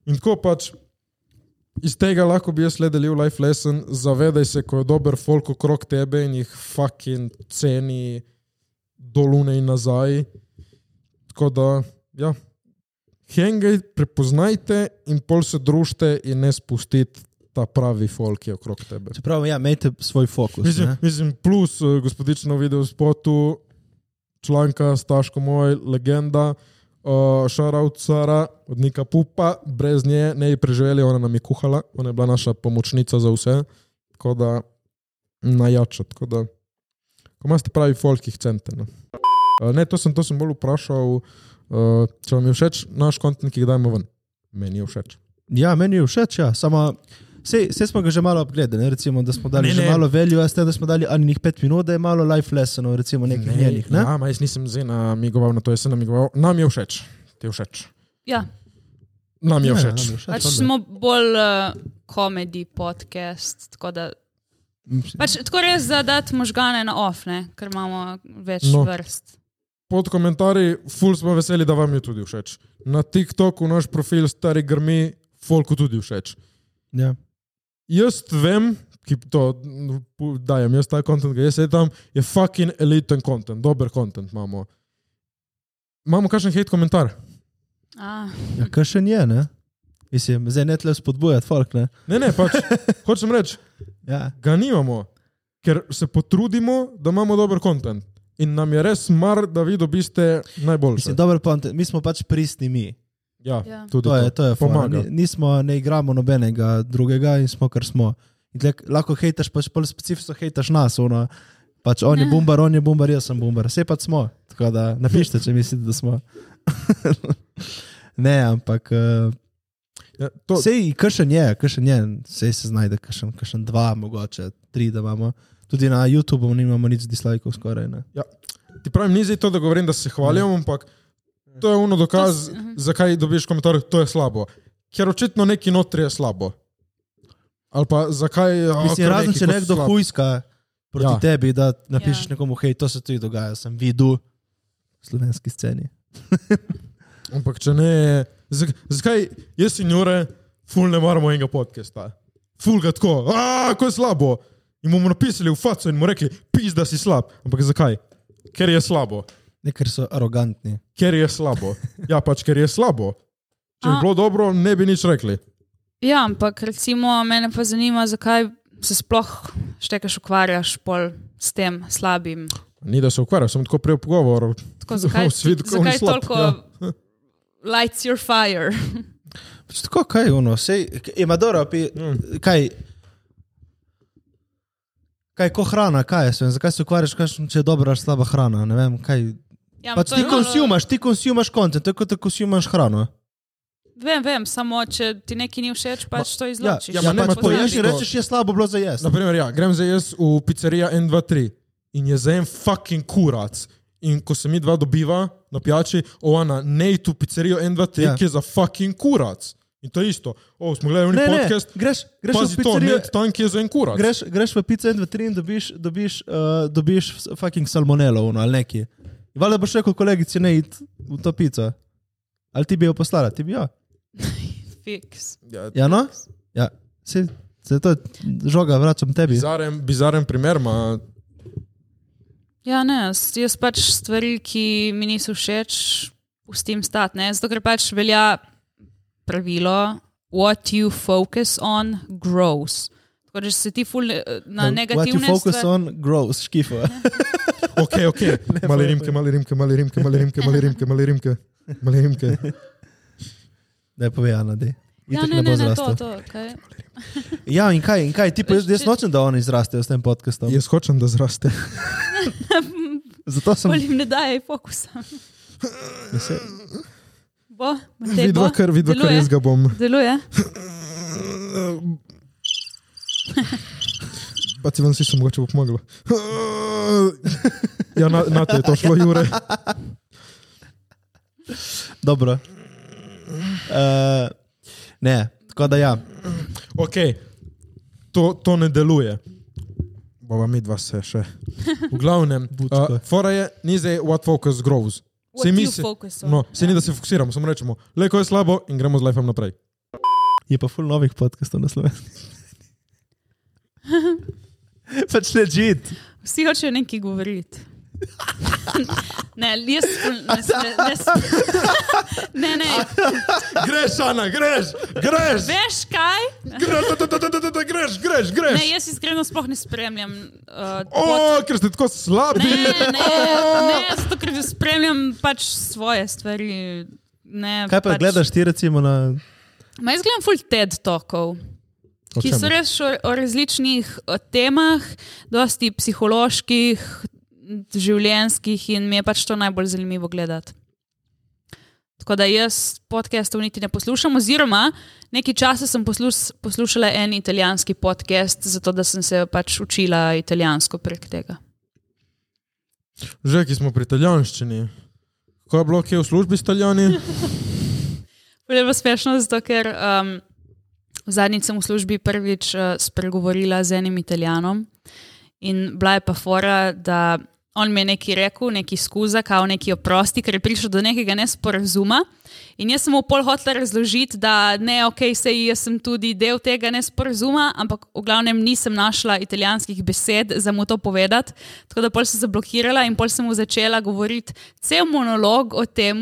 A: In tako pač. Iz tega lahko bi jaz le delil life lesson, zavedaj se, ko je dober folk okrog tebe in jih fucking ceni dolune in nazaj. Tako da, ja, hengaj, prepoznajte in pol se družite in ne spustite ta pravi folk, ki je okrog tebe.
C: Čeprav, ja, imejte svoj fokus.
A: Mislim,
C: ne.
A: mislim plus eh, gospodično video spotu, članka Staško Moj, legenda, šarav uh, cara, od Nika Pupa, brez nje ne bi preživeli, ona nam je kuhala, ona je bila naša pomočnica za vse, tako da najjača. Tako da, ko imate pravi folk, jih cenite. No. Eh, Ne, to sem, to sem bolj vprašal, uh, če vam je všeč naš kontinent, ki ga dajemo ven. Meni je všeč.
C: Ja, meni je všeč, ja. samo vse, vse smo ga že malo obgledali, ne? recimo, da smo
A: Ne,
C: dali ne, že
A: ne.
C: ne. malo veljo, a ste da smo dali Aninih pet minut, da je malo life lessonov, recimo nekih ne, njenih. Ne? Ja.
A: Ja, ma jaz nisem zdaj namigoval na to, jaz sem namigoval. Nam je všeč, ti je všeč.
D: Ja,
A: Nam
C: Ja,
A: je všeč.
D: pač smo bolj uh, komedij podcast, eh, tako da Pač, tako res, da dati možgane na ofne, ker imamo več
A: No.
D: no. vrst.
A: pod komentarji, ful smo veseli, da vam je tudi všeč. Na TikToku naš profil Stari Grmi, Folku tudi všeč.
C: Ja.
A: Jaz vem, ki to mm, pu- dajem, jaz ta kontent, ki jaz sedam, je fucking eliten kontent, dober kontent imamo. Imamo kakšen hate komentar?
D: Ah,
C: Ja, kar še je, ne? Mislim, zdaj ne tle spodbujati, folk, ne?
A: Ne, ne, pač, hočem reči,
C: Ja.
A: ga nimamo, ker se potrudimo, da imamo dober kontent. In nam je res mar, da vi dobiste najboljše.
C: Mislim, dober point, mi smo pač pristni mi.
A: Ja,
D: Ja.
A: tudi
C: To je, to je fora.
A: pomaga.
C: Ni- Nismo, ne igramo nobenega drugega in smo, kar smo. In tlek, lahko hejtaš, pač bolj specifično hejtaš nas. Ono, pač on je bombar, on je bombar, jaz sem bombar. Vse pač smo. Tako da napišite, če mislite, da smo. ne, ampak. Uh,
A: Ja, to,
C: Sej, kršen je, kršen je, sej se znajde, kršen, kršen dva, mogoče tri, da imamo. Tudi na YouTubu nimamo nič dislajkov, skoraj ne.
A: Ti pravim, ni zdaj to, da govorim, da se hvalim,
C: Mhm.
A: ampak to je ono dokaz,
D: To s- mhm.
A: zakaj dobiš komentar, to je slabo. Ker očitno neki notri je slabo. Ali pa zakaj ja, je.
C: Mislim, razen če
A: pač
C: nekdo hujska proti
A: Ja.
C: ja. tebi, da napišeš
D: Ja.
C: ja. nekomu, hej, to se tudi dogaja, sem videl v slovenski sceni.
A: Ampak če ne, zak- zakaj jaz in Jure, ful ne maramo enega podcasta. Ful ga tako, aaa, ko je slabo. In mu bomo napisali v faco in mu rekli, pis, da si slab. Ampak zakaj? Ker je slabo.
C: Ne, ker so arogantni.
A: Ker je slabo. Ja, pač ker je slabo. Če bi
D: A.
A: bilo dobro, ne bi nič rekli.
D: ja, ampak recimo mene pa zanima, zakaj se sploh štekaš ukvarjaš pol s tem slabim.
A: Ni da se ukvarjam, sem tako prej v pogovoru.
D: Tako, zakaj
A: Svetkovni
D: zakaj
A: slab,
D: toliko
A: ja.
D: lights your fire?
C: Pač tako, kaj je ono, sej, ima dobro, pi, mm. kaj. Kaj, ko hrana, kaj je, sven, zakaj se ukvarjaš, kakšen, če je dobra ali slaba hrana, ne vem, kaj.
D: Ja, ampak
C: Pač
D: to
C: ti
D: je malo-
C: konsumaš, ti konsumaš kontent, tako da konsumaš hrano.
D: Vem, vem, samo če ti nekaj ni všeč, pač to izločiš.
A: ja, ma ne,
D: Pač
A: ma to
C: pač
D: poznaš.
C: poješ in
A: to-
C: rečeš, je slabo bilo za jesti.
A: Naprimer, ja, grem zdaj jaz v pizzerijo 1, 2, 3 in je za en fucking kurac. In ko se mi dva dobiva na pijači, oana, ne id v pizzerijo 1, 2, 3, ja.
C: Ja.
A: ki je za fucking kurac. In to je isto. O, smo gledali
C: Ne,
A: neki
C: ne,
A: podcast,
C: greš, greš v
A: pazi to, ne
C: pizzerijo,
A: id tam, ki je za en kurac.
C: greš, greš v pico in v tri in dobiš, dobiš, uh, dobiš s- fucking salmonelo ono, ali neki. Valjda boš rekel kolegici, ne id v to pico. Ali ti bi jo poslala, ti bi jo.
D: Fiks.
A: Ja,
C: Ja, no? Ja, se, se to žoga vračam tebi.
A: bizaren, bizaren primer, ma
D: Ja, ne, jaz, jaz pač stvari, ki mi niso všeč, pustim stati. ne, Zato, ker pač velja pravilo, what you focus on grows. Tako da, če se ti ful eh, na
C: What
D: negativne
C: you focus
D: stvari.
C: on grows, škifo.
A: ok, ok. Male rimke, male rimke, male rimke, male rimke, male rimke, male rimke. Male rimke.
C: Ne povej, Ana, dej.
D: Ja,
C: Itak
D: ne,
C: bo
D: ne, ne, to,
C: zrastel.
D: to. Kaj?
C: Ja, in kaj, in kaj, ti pa jaz, jaz nočem, da oni izrastejo s tem podcastom.
A: Jaz hočem, da zraste.
C: Zato sem.
D: Bolj jim ne daje fokusa.
C: Se,
D: Bo, Matej,
A: Vidva,
D: bo?
A: kar, vidva, kar
D: Deluje?
A: jaz ga bom.
D: Deluje.
A: Pa ti vam si sem mogoče bo pomagalo. Ja, na, na te je to šlo, Jure.
C: Dobro. Uh, ne, tako da ja.
A: Ok, to, to ne deluje. Bova mi dva se še. V glavnem,
C: Budko.
A: uh, fora je, ni zdaj what focus grows.
D: What you focus on.
A: no, se ni, da se fokusiramo, samo rečemo, le ko je slabo in gremo z lifeom naprej.
C: Je pa full novih podkastov na slovenskem. pač ležit.
D: Vsi hočejo nekaj govoriti. Ne, jaz ful ne, sme- ne, sme- ne, ne,
A: Greš, Ana, greš, greš,
D: veš kaj?
A: greš, da, da, da, da, da, da, da, greš, greš, greš.
D: Ne, jaz iskreno sploh ne spremljam. Uh,
A: O, ker ste tako slabi.
D: ne, ne, ne, zato ker spremljam pač svoje stvari. Ne,
C: Kaj pa
D: pač,
C: pač... gledaš ti recimo na.
D: Ma jaz gledam full TED tokov.
A: O
D: ki
A: čemu?
D: so res o, o različnih eh, temah, dosti psiholoških, življenjskih in mi je pač to najbolj zanimivo gledati. Tako da jaz podcastov niti ne poslušam, oziroma nekaj časa sem poslus, poslušala en italijanski podcast, zato da sem se pač učila italijansko prek tega.
A: Že ki smo pri italijanščini. Ko je bilo kje v službi s italijani?
D: Bilo je bilo smešno, zato ker um, zadnjič sem v službi prvič uh, spregovorila z enim italijanom In bila je pa fora, da on mi je nekaj rekel, neki skuza, kao neki oprosti, ker je prišel do nekega nesporazuma. In jaz sem mu pol hotel razložiti, da ne, ok, sej jaz sem tudi del tega nesporazuma, ampak v glavnem nisem našla italijanskih besed za mu to povedati. Tako da pol sem zablokirala in pol sem mu začela govoriti cel monolog o tem,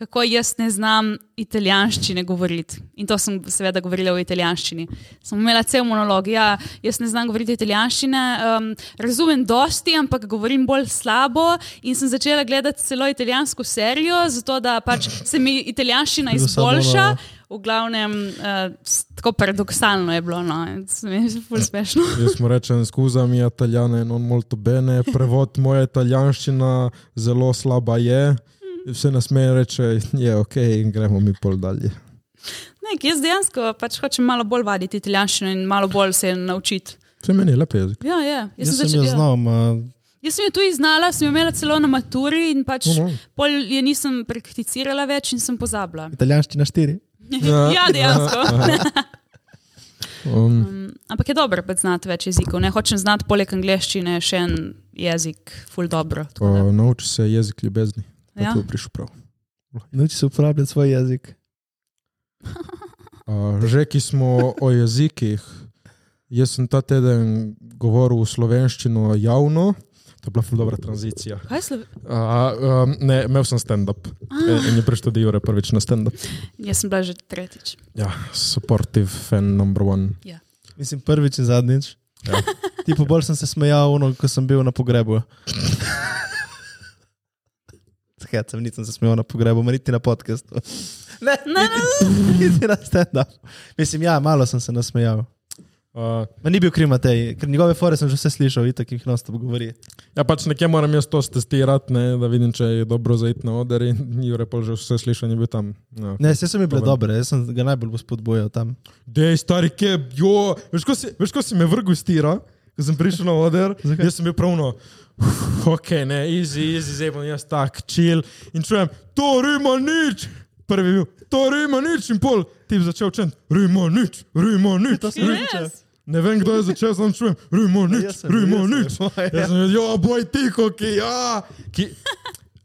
D: kako jaz ne znam italijanščine govoriti. In to sem seveda govorila v italijanščini. Sem imela cel monolog, ja, jaz ne znam govoriti italijanščine, um, razumem dosti, ampak govorim bolj slabo. In sem začela gledati celo italijansko serijo, zato da pač se mi italijanščina
C: Bilo ja. slabo,
D: izboljša.
C: da.
D: V glavnem, uh, tako paradoksalno je bilo, no, in se mi je ful smešno.
A: Jaz mu rečem, skuza mi je italijane, non molto bene, prevod moja italijanščina zelo slaba je. Vse nas meje reče, je ok, in gremo mi pol dalje.
D: Nek, jaz dejansko pač hočem malo bolj vaditi italijanščino in malo bolj se je naučiti.
A: Vse meni je lep jezik.
D: Ja, je. Jaz,
C: Jaz sem
D: začela-
C: jo
D: ja.
C: znal, ma,
D: Jaz sem jo tudi znala, sem jo imela celo na maturi in pač
A: Mhm.
D: pol je nisem prakticirala več in sem pozabila.
C: italijanščina štiri.
D: Ja, dejansko.
A: Um,
D: Ampak je dobro, da znate več jezikov. Ne hočem znati poleg angleščine še en jezik, ful dobro. tako da.
A: uh, nauči se jezik ljubezni.
D: Ja.
A: Ja. Tu prišel prav.
C: Nauči se uporabljati svoj jezik.
A: Uh, že ki smo o jezikih, jaz sem ta teden govoril slovenščino javno, to je bila ful dobra tranzicija.
D: Kaj slo...
A: Uh, um, ne, imel sem stand-up E, in je preštudiral prvič na stand-up.
D: Jaz sem bila že tretjič.
A: Ja, supportive fan number one.
C: Mislim, prvič in zadnjič.
A: Ja.
C: Ti pa bolj sem se smejal, ono, ko sem bil na pogrebu. Takrat sem nisem se smejal na pogrebu, ma niti na podkastu. Ne,
D: Ne,
C: niti, niti na stand-up. Mislim, ja, malo sem se nasmejal.
A: Uh,
C: Ma ni bil krimatej, ker njegove fore sem že vse slišal, itak jih nostop govori.
A: ja, pač nekje moram jaz to testirati, ne, da vidim, če je dobro zaiti na oder in Jure pa že vse slišanje bil tam. Ja.
C: Ne, vse so mi bile dobre, jaz sem ga najbolj spodbujal tam.
A: Dej, stari keb, jo, veš, ko si, veš, ko si me vrgel iz tira, ko sem prišel na oder,
C: Zakaj?
A: jaz sem bil pravno, ok, ne, easy, easy, zdaj bom jaz tak, chill. In čujem, to rima nič, prvi je bil, to rima nič in pol, ti bi začel učen, rima nič, rima nič. ri-
D: Res?
A: Ne vem, kdo je začel, sem čujem, rima
C: Ja,
A: nič,
C: jaz sem,
A: rima
C: jaz sem,
A: nič.
C: moja, ja.
A: Jaz sem rekel, jo, boj tiho, ki ja. Ki,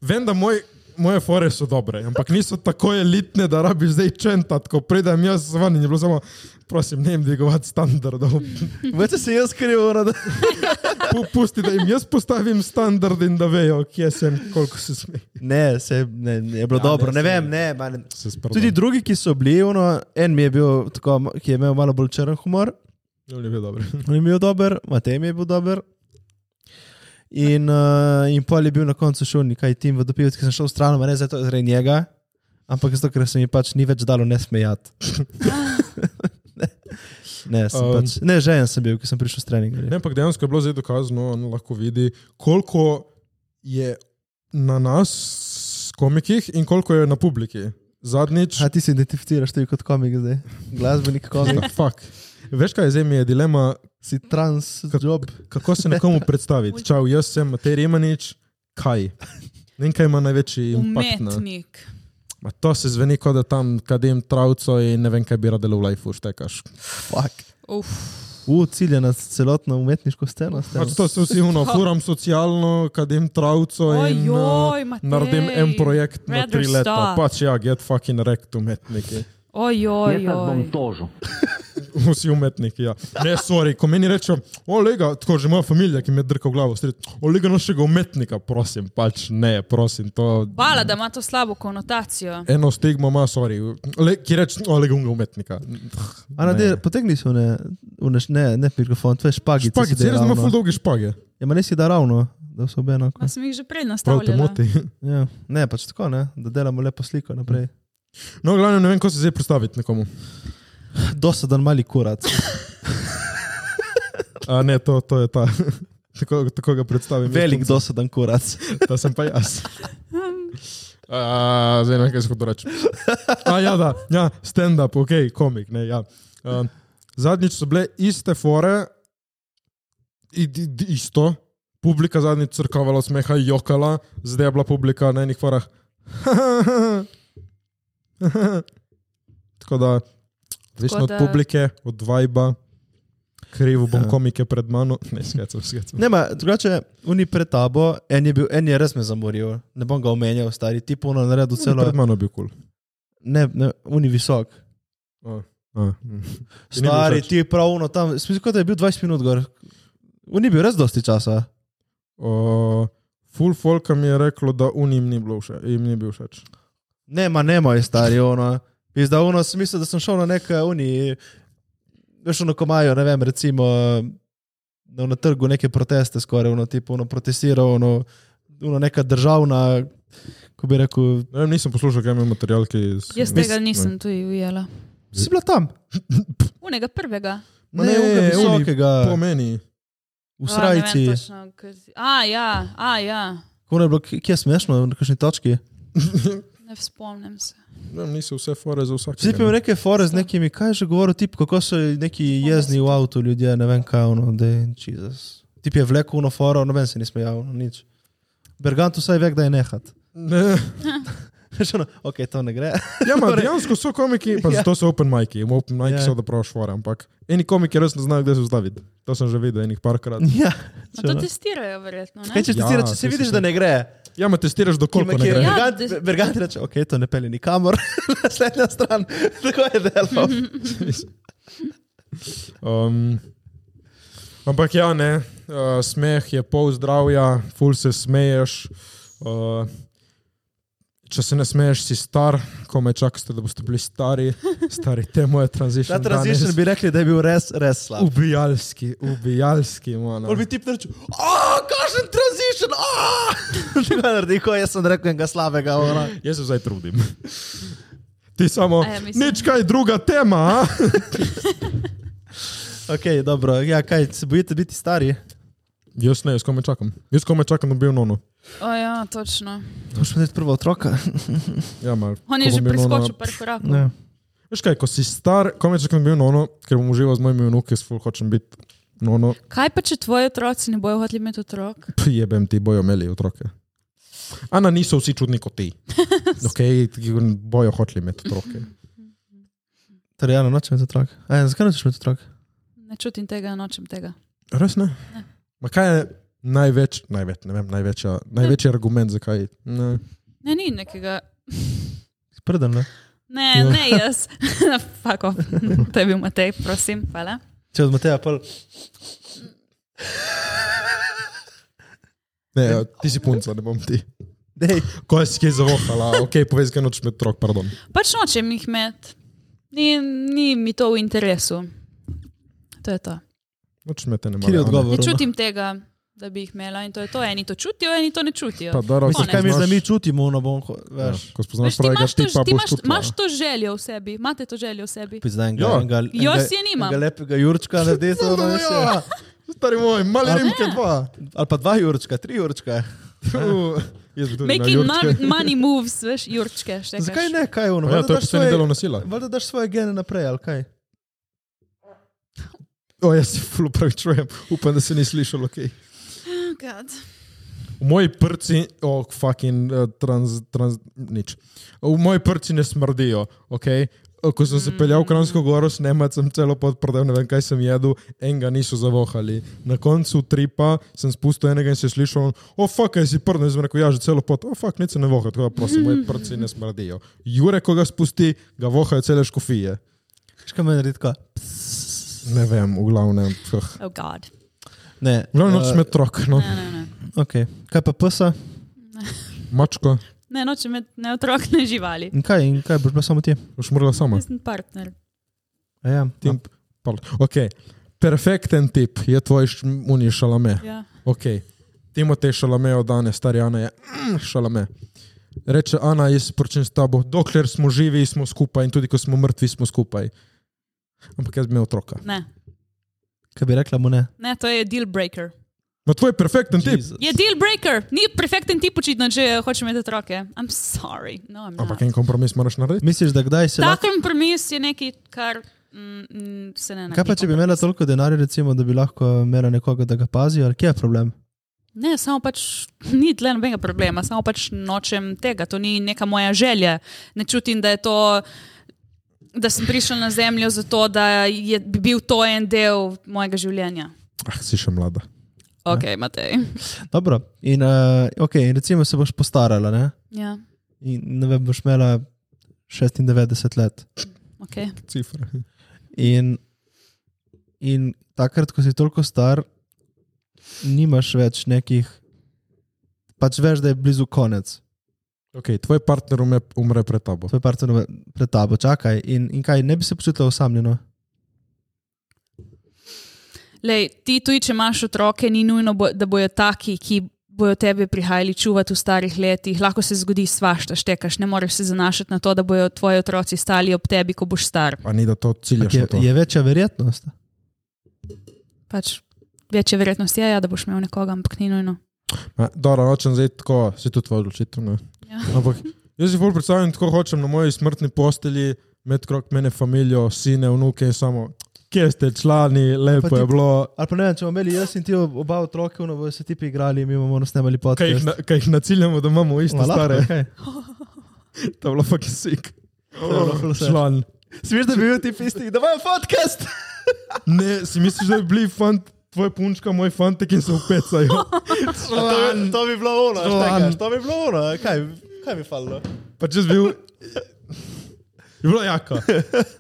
A: vem, da moj, moje fore so dobre, ampak niso tako elitne, da rabiš zdaj čentati, ko pridem jaz ven in je bilo samo, prosim, ne jim dvigovati standardov.
C: Veste se jaz krivo, ono, da
A: Pu- Pusti, da jim jaz postavim standard in da vejo, kje sem, koliko se smej.
C: Ne, se, ne, ne, je bilo ja, dobro, ne, ne vem. Ne, ma, ne.
A: Se sprdam.
C: Tudi drugi, ki so bili, ono, en mi je bil tako, ki je imel malo bolj črn humor,
A: Ja, ne ve dobro.
C: on je bil dober, Matej mi je bil dober. In, uh, in pol je bil na koncu šel nekaj tim v dopivec, ki sem šel stran, ne zato, zaradi njega, ampak zato, ker se mi pač ni več dalo ne smejati. ne, ne, um,
A: Um.
C: pač, ne, žen sem bil, ki sem prišel stran.
A: Ne, ampak dejansko je bilo zdaj dokazano, on lahko vidi, koliko je na nas, komikih, in koliko je na publiki. Zadnjič.
C: A ti se identificiraš tudi kot komik zdaj, glasbenik komik,
A: Ja, Fuck. Veš kaj, zdaj mi je dilema,
C: si trans,
A: Kot-
C: job.
A: kako se nekomu predstaviti. Čau, jaz sem Matej Remanič, kaj? Ne vem, kaj ima največji impact. Na.
D: Umetnik.
A: Ma To se zveni, kot da tam kadim travco in ne vem, kaj bi radel v lifeu, štekaš.
C: Fuck.
D: Uf.
C: U, cilja na celotno umetniško sceno. s tem.
A: Pač to se vsi uno, furam socialno, kadim travco in
D: Ojoj,
A: uh,
D: Matej.
A: naredim en projekt na
D: Rather
A: tri leta.
D: stop.
A: Pač ja, get fucking rekt umetniki.
D: Ojoj, ojoj.
A: Vsi umetniki, ja. Ne, sorry, ko meni rečejo, olega, tako že moja familija, ki mi je drka v glavo, strit, olega našega umetnika, prosim, pač ne, prosim, to
D: Hvala, da ima to slabo konotacijo.
A: eno stigmo ima, sorry, Le, ki reče, olega unga umetnika.
C: Ana, de, potegni si une, une, ne, ne mikrofon, tvoje špagice.
A: Špagi,
C: si daj
A: res ima ful
C: ravno.
A: dolge špage,
C: Ja, ma ne si da ravno, da so obe enako.
D: Ma sem jih že
A: prav
D: prej
A: te
D: nastavljala.
A: moti.
C: Ja. Ne, pač tako, ne, da delamo lepo sliko naprej.
A: No, glavno ne vem, ko se zdaj predstaviti nekomu.
C: Dosadan mali kurat.
A: A ne, to, to je ta. Tako, tako ga predstavim.
C: Velik dosadan kurat.
A: Da sem pa jaz. A, zdaj ne vem, kaj se hoče reči. A, ja, da, ja, stand-up, ok, komik. Ne, ja. um, zadnjič so bile iste fore, id, id, isto. Publika zadnjič crkavala od smeha, jokala, zdaj je bila publika na enih forah. Tako da, odvisno
D: Tako
A: od no,
D: da-
A: publike, od vibra. kriv bom komike pred mano. Ja. Ne, skecam, skecam.
C: Ne, ma, drugače, uni pred tabo, en je bil, en je res me zamoril, ne bom ga omenjal, stari, ti puno naredil celo.
A: Pred mano je bil kul.
C: Ne, ne, uni visok.
A: Cool. A, mm. Ti ni bil
C: Stari,
A: všeč?
C: ti prav uno tam, smisel, kot da je bil 20 minut gor. Uni bil res dosti časa.
A: O, Full Folk mi je reklo, da unim ni bilo všeč. Jim ni bil všeč.
C: Ne, ma ne, moj stari, ono. Pizda, ono, smisel, da sem šel na nek uni, veš, ono komajo, ne vem, recimo no, na, na trgu neke proteste skoraj, ono, tipo, ono, protestiral, ono, ono, neka državna, ko bi rekel,
A: Ne vem, nisem poslušal, kaj ima material, ki je.
D: Jaz tega nisem tudi ujela.
C: si bila tam.
D: Unega prvega.
A: Ma
C: Ne,
A: ne,
C: ne
A: oni
C: visokega,
A: Pomeni.
C: v
D: A, ne vem
C: srajci.
D: točno, kaj- A, ja, a, ja.
C: Kako je bilo, k- kje je smešno, na kakšni točki?
D: Ne spomnim se. No,
A: Ne vem, niso vse fore za vsak.
C: Vsi pa imajo neke fore z nekimi, kaj je že govoril, tip, kako so neki jezni v avtu ljudje, ne vem kaj, ono, da je Jezus. Tip je vlekel uno foro, noben se ni smejal, no, nič. Bergant vsaj ve, da je nehat.
A: Ne.
C: Veš, ono, ok, to ne gre.
A: Ja, ma, dejansko so komiki, pa
C: Ja.
A: zato so open miki. V open miki
C: Ja.
A: so da prav švore, ampak eni komiki res ne znajo, kde se ustaviti. To sem že videl enih parkrat.
C: ja,
D: Ma to testirajo, verjetno.
C: Kaj
D: Ne?
C: če
A: Ja,
C: testirati, če se
A: to
C: vidiš,
A: si-
C: da ne gre?
A: Ja, ma testiraš do koliko ne
C: Kje-
A: gre.
D: Ja.
C: Bergant-
D: des-
C: Bergant reče, ok, to ne peli nikamor, naslednja stran, tako je delo.
A: Um, ampak ja, ne, uh, smeh je pol zdravja, ful se smeješ. Uh, če se ne smeješ, si star, komaj čakate, da boste bili stari, stari te moje tranzicije.
C: Ta transition bi rekli, da je bil res, res slab.
A: Ubijalski, ubijalski,
C: Pol
A: mano.
C: bi ti rekel, kakšen transition, aaaah! Naredi, ko jaz sem rekel nekaj slabega. Ona.
A: Jaz se zdaj trudim. Ti samo,
D: A ja, mislim.
A: nič kaj druga tema, a?
C: Ok, dobro, ja, kaj, se bojite biti stari?
A: Jaz ne, jaz komaj čakam. Jaz komaj čakam, da bi bil nono.
D: O, ja, točno.
C: To še ne prvo otroka.
A: Ja, mal,
D: On
A: ko
D: je
A: bom
D: že
A: bil nono-
D: preskočil par korakov.
C: Ne.
A: Veš kaj, ko si star, komaj čakam, da bi bil nono, ker bom užival z mojimi vnuki, jaz ful hočem biti nono.
D: Kaj pa, če tvoji otroci ne bojo hoteli imeti otrok?
A: Prijebem ti, bojo imeli otroke. Ana, niso vsi čudni kot ti. Okay, bojo hoteli imeti otroke.
C: Torej, ja, nočem imeti otrok. A, ja, zakaj nočeš imeti otrok?
D: Ne čutim tega, nočem tega.
A: Res ne? Ma kaj je največ, največ, ne vem, največja, največji argument, zakaj? Ne.
D: Ne, ni nekega.
C: Sprden, ne?
D: Ne,
C: Ja.
D: ne jaz. Fako, to je bil Matej, prosim, hvala.
C: Če od Mateja pol.
A: ne, ja, ti si punca, ne bom ti.
C: Dej,
A: Ko si kaj zavohala, ok, povej, zakaj nočeš imeti otrok, pardon.
D: Pač nočem jih imeti. Ni, ni mi to v interesu. To je to.
A: Nočeš imeti ne
C: kje je
D: Ne
C: odgovor?
D: čutim tega, da bi jih imela in to je to. Eni to čutijo, eni to ne čutijo.
A: Pa, daro,
C: Misliš, kaj misliš, da mi čutimo, ono bom, ho-
A: Ja,
C: veš.
A: ko
D: Veš,
A: spoznaš
D: ti
A: pravega
D: imaš to,
A: tipa,
D: ti
A: boš
D: imaš,
A: tutla.
D: imaš to željo v sebi, imate to željo v sebi.
C: Pizda enega,
A: Ja.
C: enega,
D: Jo,
C: enega-
D: si je nimam.
C: Enega lepega Jurčka, naredi se ono veš. ja.
A: Stari moj, mali
C: Ja.
A: rimke dva.
C: Ali pa dva Jurčka, tri Jurčka.
A: Tu, Jaz bi tudi na
D: Making mon-
A: Ljubčke.
D: money moves, veš, jurčke. štekaš.
C: Zakaj ne, kaj ono?
A: Ja,
C: valjda
A: to je
C: daš
A: posebno
C: svoje-
A: delovno sila.
C: Valjda daš svoje gene naprej, ali kaj?
A: O, jaz se ful upravičujem, upam, da se ni slišalo. Okay.
D: Oh, God.
A: V moji prsti, oh, fucking eh, trans, trans, nič. V moji prsti ne smrdijo. Okay? Ko sem se peljal v Kranjsko goro, snemat sem celo podprodal, ne vem kaj sem jedel, enega niso zavohali. Na koncu tripa sem spustil enega in se je slišal, o, fuck, kaj si prdel, sem rekel, ja, že celo pot, o, fuck, nič se ne voha, tako da prosim, moje prsti ne smrdijo. Jure, ko ga spusti, ga vohajo cele škofije.
C: Veš, kaj meni redko?
A: Ne vem, v glavnem. huh.
D: Oh, God.
C: Ne.
A: V glavnem,
C: eh,
A: noč med trok, no.
D: Ne, ne, ne.
C: Okay. Kaj pa psa?
A: mačko,
D: Ne, nočem imeti ne otrok, ne živali.
C: In kaj, in kaj boš bila samo ti?
A: boš morala sama.
D: Jaz sem partner.
C: A Ja,
A: Tim, pardon. ok, perfekten tip je tvoj unij šalame.
D: Ja.
A: Ok, Timotej šalame od danes, stari Ana je mm, šalame. Reče Ana, jaz sporočim s tabo, dokler smo živi, smo skupaj in tudi ko smo mrtvi, smo skupaj. Ampak jaz bi imel otroka.
D: Ne.
C: Kaj bi rekla mu ne?
D: ne, to je deal breaker.
A: Ma to je perfekten tip.
C: Jesus.
D: Je deal breaker, ni perfekten tip, očitno, če hočeš imeti otroke. I'm sorry. No, I'm
A: Ampak
D: not.
A: en kompromis moraš narediti.
C: Misliš, da kdaj se
D: Tak
C: lahko...
D: kompromis je nekaj, kar mm, mm, se ne
C: Kaj pa, če bi imela toliko denarja, recimo, da bi lahko imela nekoga, da ga pazi, ali kje je problem?
D: Ne, samo pač ni tle nobenega problema, samo pač nočem tega, to ni neka moja želja. Ne čutim, da je to da sem prišel na zemljo zato, da je bi bil to en del mojega življenja.
A: Ah, si še mlada.
D: Ok, Matej.
C: Dobro. In, uh, okay, in recimo se boš postarala, ne?
D: Ja,
C: In ne vem, boš imela 96 let.
D: ok.
A: Cifra.
C: In, in takrat, ko si toliko star, nimaš več nekih, pač veš, da je blizu konec.
A: Okay, tvoj partner ume, umre pred tabo.
C: Tvoj partner me- pred tabo, čakaj. In, in kaj, ne bi se počutila osamljeno?
D: Lej, ti tudi, če imaš otroke, ni nujno, bo, da bojo taki, ki bojo tebe prihajali čuvati v starih letih. Lahko se zgodi svašta, štekaš, ne moreš se zanašati na to, da bojo tvoji otroci stali ob tebi, ko boš star.
A: Pa ni da to ciljaš.
C: Je,
A: Okay, to.
C: je večja verjetnost.
D: Pač večja verjetnost je, ja, da boš imel nekoga, ampak ni nujno.
A: Ma, Dobro, nočem zdaj tako, se tudi tvoja odločitev. ne.
D: Ja.
A: Ampak jaz si bolj predstavljam, tako hočem na moji smrtni postelji, med krok mene, familijo, sine, vnuke in samo, kje ste člani, lepo
C: Pa ti-
A: je bilo.
C: Ali pa ne vem, če bomo imeli jaz in ti ob- oba otroka, no bojo se ti pi igrali, mi bomo snemali
A: Kaj jih,
C: podcast.
A: na, kaj jih naciljamo, da imamo iste
C: Ma, lahko,
A: stare,
C: kaj?
A: to je bilo fucking sick.
C: bilo ful vse.
A: Član.
C: Smeš, da bi bil ti isti, da imajo podcast.
A: Ne, si misliš, da bi bili fant, tvoj punčka, moj fantek in se upecajo.
C: To, bi- to bi bilo ono,
A: Član.
C: štekaš, to bi bilo ono, a kaj, kaj bi falilo?
A: Pa če bi bil. Je bilo jako.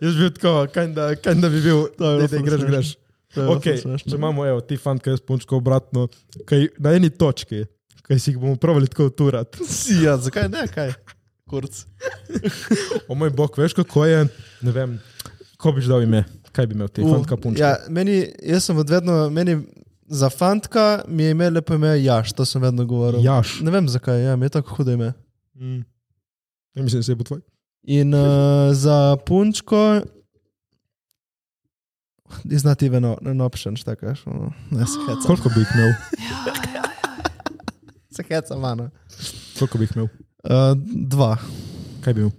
A: Jaz bi bil tako, kajda, kajda bi bil,
C: je bilo
A: da
C: ful
A: greš,
C: smešno.
A: greš.
C: To je bilo ful
A: Okay,
C: smešno.
A: če imamo, evo, ti fant, kaj jaz punčko obratno, kaj na eni točki, kaj si jih bomo pravili tako uturati.
C: Si, ja, zakaj ne, kaj? Kurc.
A: O moj bog, veš kako je, ne vem, ko bi dal ime, kaj bi imel ti fant, kaj punčko.
C: Ja, meni, jaz sem od vedno, meni za fantka mi je ime lepo ime Jaš, to sem vedno govoril.
A: Jaš.
C: Ne vem zakaj, ja, mi je tako hudo ime.
A: Mm. Ja, mislim, da se bo tvoj.
C: In uh, za punčko. Znati je en option, štekaš. ono, Ne, se heca.
A: Koliko bi jih imel?
C: Se heca, mano.
A: Koliko bi jih imel?
C: Uh, dva.
A: Kaj bi imel?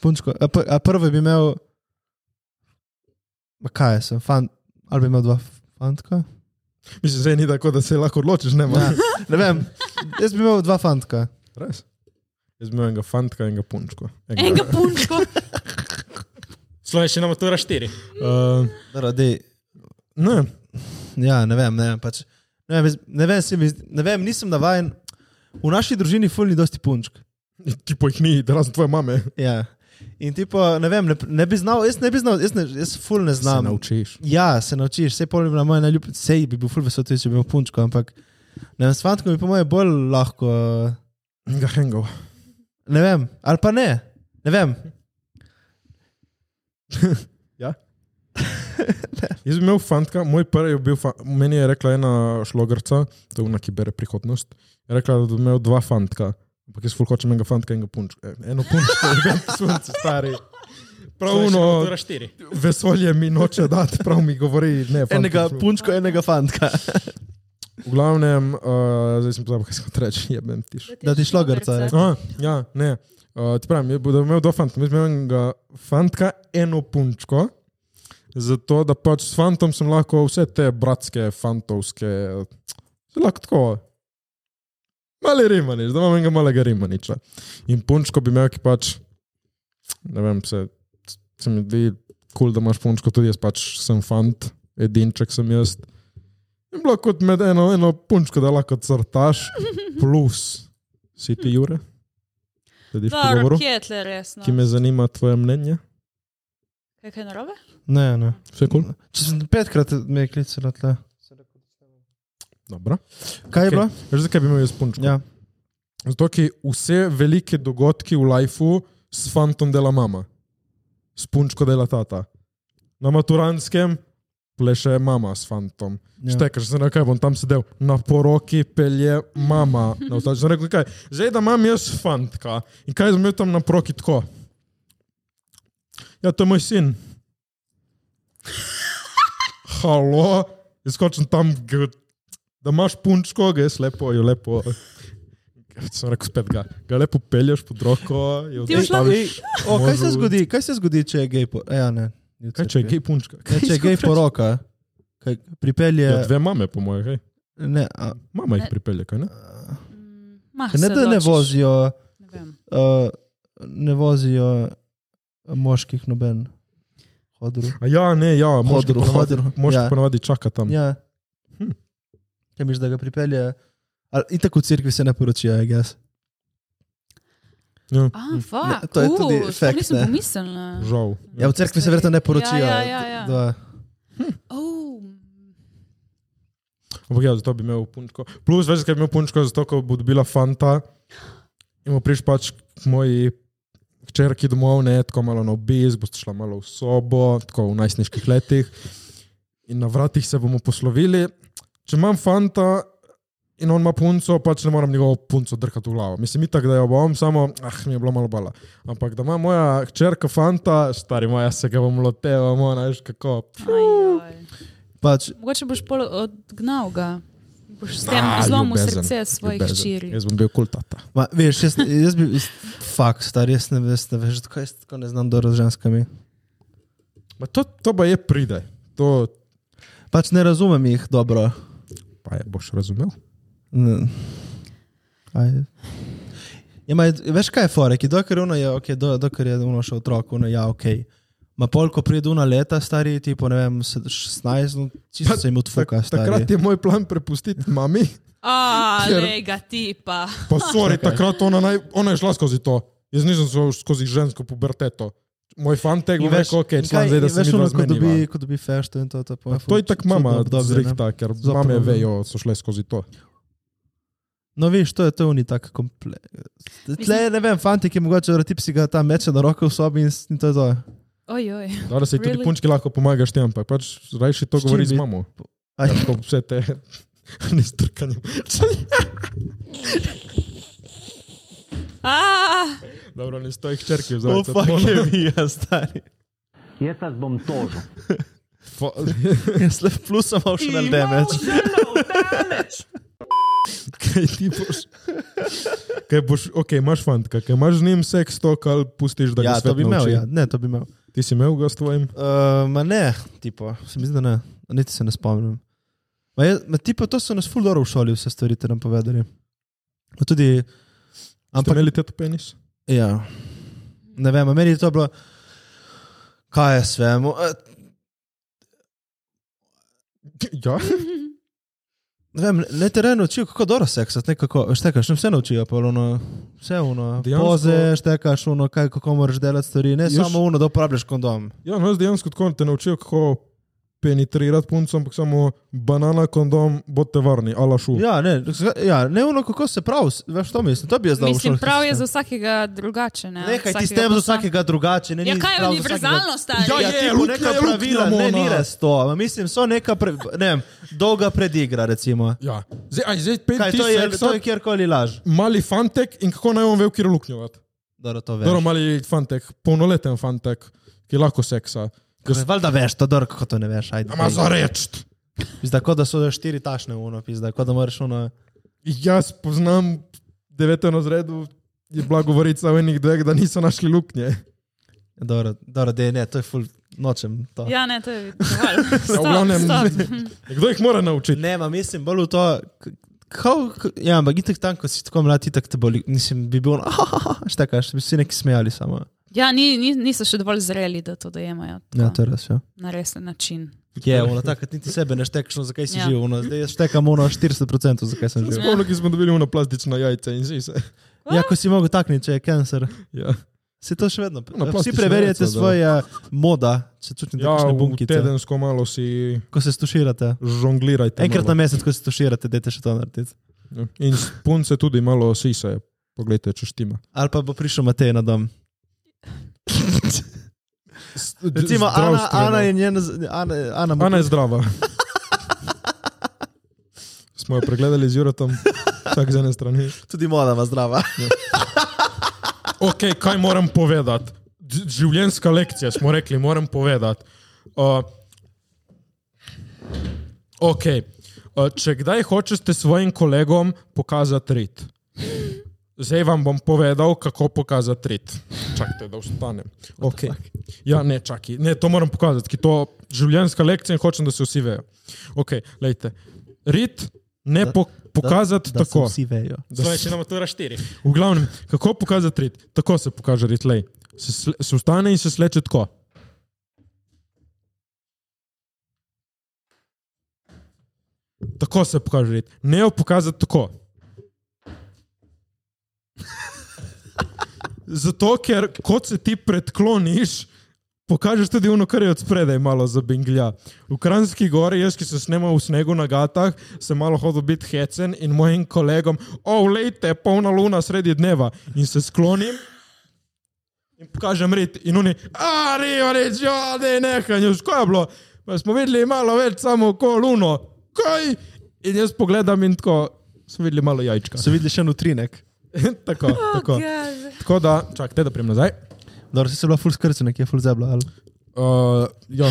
C: Punčko. A, pr a prvo bi imel. Ma kaj jaz sem, fan, ali bi imel dva fantka?
A: Mislim, zdaj ni tako, da se lahko odločiš, ne
C: Ne,
A: moreš.
C: ne vem, jaz bi imel dva fantka.
A: Ja. Res. Jaz bi imel enega fantka, enega punčko.
D: Enega punčko.
G: Slovenščina matura 4.
A: Uh,
C: Dobro, dej,
A: ne,
C: ja, ne vem, ne vem. Pač, ne, vem jaz- ne, vem, se mi zdi- ne vem, nisem navaden. V naši družini fulni dosti punčk.
A: Ti pa jih ni, da razen tvoje mame.
C: Ja. In ti pa, ne vem, ne, ne bi znal, jaz ne bi znal, jaz, ne, jaz ful ne znam.
A: naučiš.
C: Ja, se naučiš, vse pol je bila moja najljubša, sej bi bil ful vesel, tudi če bi imel punčko, ampak ne vem, s fantkom bi po mojem bolj lahko,
A: Ga hengov.
C: ne vem, ali pa ne, ne vem.
A: Jaz bi imel fantka, moj prvi je bil, fa- meni je rekla ena šlogrca, to je ona, ki bere prihodnost. Je rekla, da bi imel dva fantka, ampak jaz ful hočem enega fantka in enega punčka. Eh, Eno punčko, je sunce, stari.
G: Slovenščina
A: Pravno
G: matura 4.
A: vesolje mi noče dati, prav mi govori. Ne, fantka
C: Enega
A: ful.
C: punčko, enega fantka.
A: V glavnem, uh, zdaj sem pozabil, kaj sem hotel reči, jebem tiš.
C: Da ti šlogarca, ja.
A: A, ja, ne. Uh, ti pravim, jaz bi- da bi imel dva fanta, mi smo imeli enega fanta, eno punčko. Zato, da pač s fantom sem lahko vse te bratske, fantovske, eh, se lahko tako. Mali rimanič, da imam enega malega rimaniča. In punčko bi imel, ki pač, ne vem, se, se mi zdi kul, cool, da imaš punčko, tudi jaz pač sem fant, edinček sem jaz. In bilo kot med eno, eno punčko, da lahko crtaš, plus si ti Jure? Slediš
D: Dobro,
A: pogovoru,
D: No, kje je tle resno?
A: ki me zanima tvoje mnenje?
D: no. Kaj je narobe?
C: Ne, ne.
A: Vse kul?
C: Če sem petkrat me klical na tle.
A: Dobro.
C: Kaj je
A: Okej.
C: bilo?
A: Že zakaj bi imel jaz punčko?
C: Ja.
A: Zato, ker vse velike dogodke v lifeu s fantom dela mama, s punčko dela tata. Na maturanskem pleše mama s fantom. Ja.
C: Ja.
A: Štekaš, zdaj kaj bom tam sedel, na poroki pelje mama. Na vstači sem rekel, kaj, zdaj da imam jaz fantka. In kaj sem imel tam na poroki tako? Ja, to je moj sin. Halo, jaz hočem tam, g- da imaš punčko, ga jaz lepo, jo lepo. Sem rekel spet ga, ga lepo pelješ pod roko. jo
D: Ti boš lahko-
A: odstaviš.
C: O, kaj se
A: Možu-
C: zgodi, kaj se zgodi, če je gej po... Ja, ne.
A: Kaj če je gej punčka?
C: Ja, če je gej poroka, kaj pripelje...
A: Ja, dve mame, po mojem, hej.
C: Ne, a,
A: Mama jih
D: Ne.
A: pripelje, kaj ne?
D: Mah,
C: ne
D: Mm, se
C: da ne
D: ločiš.
C: vozijo,
D: Ne vem.
C: uh, ne vozijo moških noben hodil.
A: A ja, ne, ja, moški
C: Hodru,
A: ponavadi,
C: hodru,
A: moški
C: ja.
A: ponavadi čaka tam.
C: Ja.
A: Hm.
C: Kaj misliš, da ga pripelje? Ali in tako v cerkvi se ne poročijo, je gas.
A: Ja,
D: A, fuck,
C: Ne, to je tudi
D: uh,
C: fakt,
D: Nisem
C: ne.
D: pomislila.
A: žal.
C: Ja, v cerkvi se verjetno ne poročijo.
D: Ja, ja, ja, ja.
C: Da,
D: Oh,
A: Ampak ja, zato bi imel punčko. Plus, veš, kaj bi imel punčko, zato ko bo dobila fanta. In boš prišel pač k moji hčerki domov, ne tako malo na obisk, boš šla malo v sobo, tako v najsniških letih. In na vratih se bomo poslovili. Če imam fanta in on ima punco, pač ne moram njegovo punco drkati v glavo. Mislim, itak, da jo bom, samo, ah, mi je bilo malo bala. Ampak da ima moja hčerka fanta, stari moja, se ga bom loteval, moja, veš kako.
D: ajoj.
C: pač,
D: Mogoče boš pol odgnal ga. Boš s tem
A: Ah,
D: zlomil
A: ljubezen,
D: srce svojih
A: ljubezen.
D: hčeri.
A: Jaz bom bil kultata.
C: ma, veš, jaz, jaz bi, jaz, fakt, star, jaz ne veš, ne veš, tako jaz tako ne znam dobro z ženskami.
A: Ma to, to pa je pride, to
C: Pač ne razumem jih dobro.
A: pa je boš razumel.
C: Ne. Aj. Ja, ma, veš kaj je forek, dokler, ono je, okay, do, dokler je ono še otrok, ono je ja, ok. Ma pol, ko pride una leta, stari ti, po ne vem, se- 16, no, čisto
A: Pa
C: se jim odfuka.
A: Tak- Takrat je moj plan prepustiti mami.
D: A,
A: Ker-
D: le ga ti pa.
A: Pa sorry, takrat ona, naj, ona je šla skozi to. Jaz nisem šel skozi žensko puberteto. Moj fantek bo rekel, ok, član zdaj, da se mi
C: ko dobi,
A: razmeni.
C: ko dobi fešto in to. To, pa,
A: To je tako mama,
C: da
A: zrihta, ker
C: Zelo
A: mame
C: podobno.
A: vejo, so šle skozi to.
C: No, veš, to je to ni tako kompleksno. Tle, ne vem, fanti, ki mogoče rotip si ga tam meče na roko v sobi in, s- in to je to.
D: Ojoj.
A: Danes se tudi
D: Really?
A: punčki lahko pomagaš tem, ampak pač rajši to
C: S čim
A: govori z
C: bi-
A: mamo.
C: Aj.
A: Ker Tako vse te nestrkanje.
D: A,
A: Dobro, ne stoji hčerki,
C: To
A: vzamem.
C: Oh, fuck je bija, stari.
E: Jaz vas bom tožil.
C: Jaz le plusom imam še na damage.
E: Emotional damage!
A: Kaj ti boš? Kaj boš, ok, imaš fantka, kaj imaš z njim seks to, kar pustiš, da ga
C: Ja,
A: svet
C: to bi imel,
A: nauči?
C: ja. ne, to bi imel.
A: Ti si imel ga s tvojim?
C: Uh, ma ne, tipo, se mi zdi, da ne, niti se ne spomnim. Ma je, ma tipo, to so nas ful dobro v šoli vse stvari te nam povedali. Ma tudi,
A: Ampak
C: ampak,
A: imeli te penis?
C: ja, ne vem, a meni je to bilo, kaj je svemu.
A: Ja.
C: Ne vem, ne te reno učijo, kako dobro seksati, ne kako, štekaš, ne vse naučijo, pa ono, vse ono,
A: Dejansko-
C: Dejansko... poze, štekaš, ono, kaj, kako moraš delati stvari, ne
A: Jaz-
C: Ješ... samo ono, da uporabljaš kondom.
A: Ja, no, jaz dejansko tako te naučijo, kako penetrirati punco, ampak samo banana, kondom, bodite varni, ala šu.
C: Ja, ne, ja, ne ono, kako se prav, veš, to mislim, to bi jaz dal v
D: Mislim,
C: šoli,
D: prav je
C: sistem.
D: za vsakega drugače. Ne,
C: Nekaj ti s
D: Ja, Vsakega
C: tem
D: bo
C: za
D: sam-
C: vsakega drugače. Ne,
D: Ja,
C: ni
D: kaj je
C: prav za
D: univerzalno, stari?
A: Ja,
C: vsakega- Ja,
A: je,
C: je, tipo,
A: luknja no.
C: neka
A: je
C: pravila,
A: luknja,
C: ne, ni
A: mona.
C: res to. Ma, Mislim, so neka, pre, ne vem, dolga predigra, recimo.
A: ja. Zdaj, aj, zdaj pet
C: Kaj,
A: ti
C: to je,
A: seksa,
C: to je kjerkoli laž.
A: mali fantek in kako naj on ve, kjer luknjovat.
C: Dobro, to veš.
A: Dobro, mali fantek, polnoleten fantek, ki lahko seksa.
C: Ko se Torej, valjda veš, to dobro, kako to ne veš. Ajde,
A: Ama za reč.
C: Pizda, kot da so štiri tašne uno, pizda, kot da moraš uno.
A: Jaz poznam deveto razredu, je bila govorica o enih dveh, da niso našli luknje.
C: Dobro, dobro, dej, ne, to je ful, nočem to.
D: Ja, ne, to je dovolj. Stop,
A: glavnem-
D: stop.
A: Kdo jih mora naučiti?
C: Ne, ma mislim bolj v to. k- Kao, k- ja, ampak itek tam, ko si tako mlad, itek te boli. Mislim, bi bil, ah, štekaš, bi si neki smejali samo.
D: Ja, ni, ni, niso še dovolj zreli, da to
C: Ja,
D: dojemajo tako,
C: to je res, ja.
D: na resen način.
C: Je, ono, takrat niti sebe ne štekaš, no, zakaj si
D: Ja.
C: ja. živel. Ono, zdaj jaz štekam ono 40%, zakaj sem živel.
A: Spomnim, ki smo dobili na plastična jajca in zise.
C: Ja, ko si mogel takniti, če je kancer.
A: Ja,
C: Si to še vedno.
A: Na
C: Vsi
A: plastično
C: preverjate
A: jajco, da.
C: svoje eh, moda, če čutite
A: ja
C: kakšne
A: v
C: bunkice,
A: tedensko malo si
C: ko se stuširate.
A: žonglirajte.
C: Enkrat na
A: malo.
C: mesec, ko se stuširate, dajte še to narediti.
A: Ja. In s punce tudi malo sise. Poglejte, če štima.
C: Ali pa bo prišel Matej na dom.
A: S-
C: Recimo, Ana,
A: zdravstveno.
C: Ana je njena, z- Ana, Ana, mu-
A: Ana je zdrava. Smo jo pregledali z Juratom, vsak z ene strani.
C: tudi moda ima zdrava.
A: Ja, Ok, kaj moram povedati? Ž- Življenjska lekcija smo rekli, moram povedati. Uh, ok, uh, če kdaj hočete svojim kolegom pokazati rit, zdaj vam bom povedal, kako pokazati rit. Čakajte, da vstanem. Okay. Ja, ne, čakaj, ne, to moram pokazati, ki to je življenjska lekcija in hočem, da se vsi vejo. Ok, lejte. Rit Ne
C: Da-
A: po, pokazati
C: da, da se
A: tako.
C: Vsi vejo.
A: Da
G: Zdaj,
A: s-
G: če nam to raštiri.
A: V glavnem, kako pokazati rit? Tako se pokaže rit, lej. Se, sle- se vstane in se sleče tako. Tako se pokaže rit. Ne jo pokazati tako. Zato, ker kot se ti predkloniš, pokažeš tudi ono, kar je od spredaj malo zabinglja. V Kranjski gori, jaz, ki se snemal v snegu na gatah, sem malo hodil biti hecen in mojim kolegom, ovlejte, polna luna sredi dneva in se sklonim. In pokažem rit, in oni, arijo, rečijo, da je nekaj, škoda je bilo. Pa smo videli malo več, samo ko luno, kaj. In jaz pogledam in tako, smo videli malo jajčka.
C: So videli še en utrinek.
A: tako, tako. tako da, čakajte, da prijem nazaj.
C: Dobro, si se bila full skrcena, ki je full zebla. Ali?
A: Uh, ja.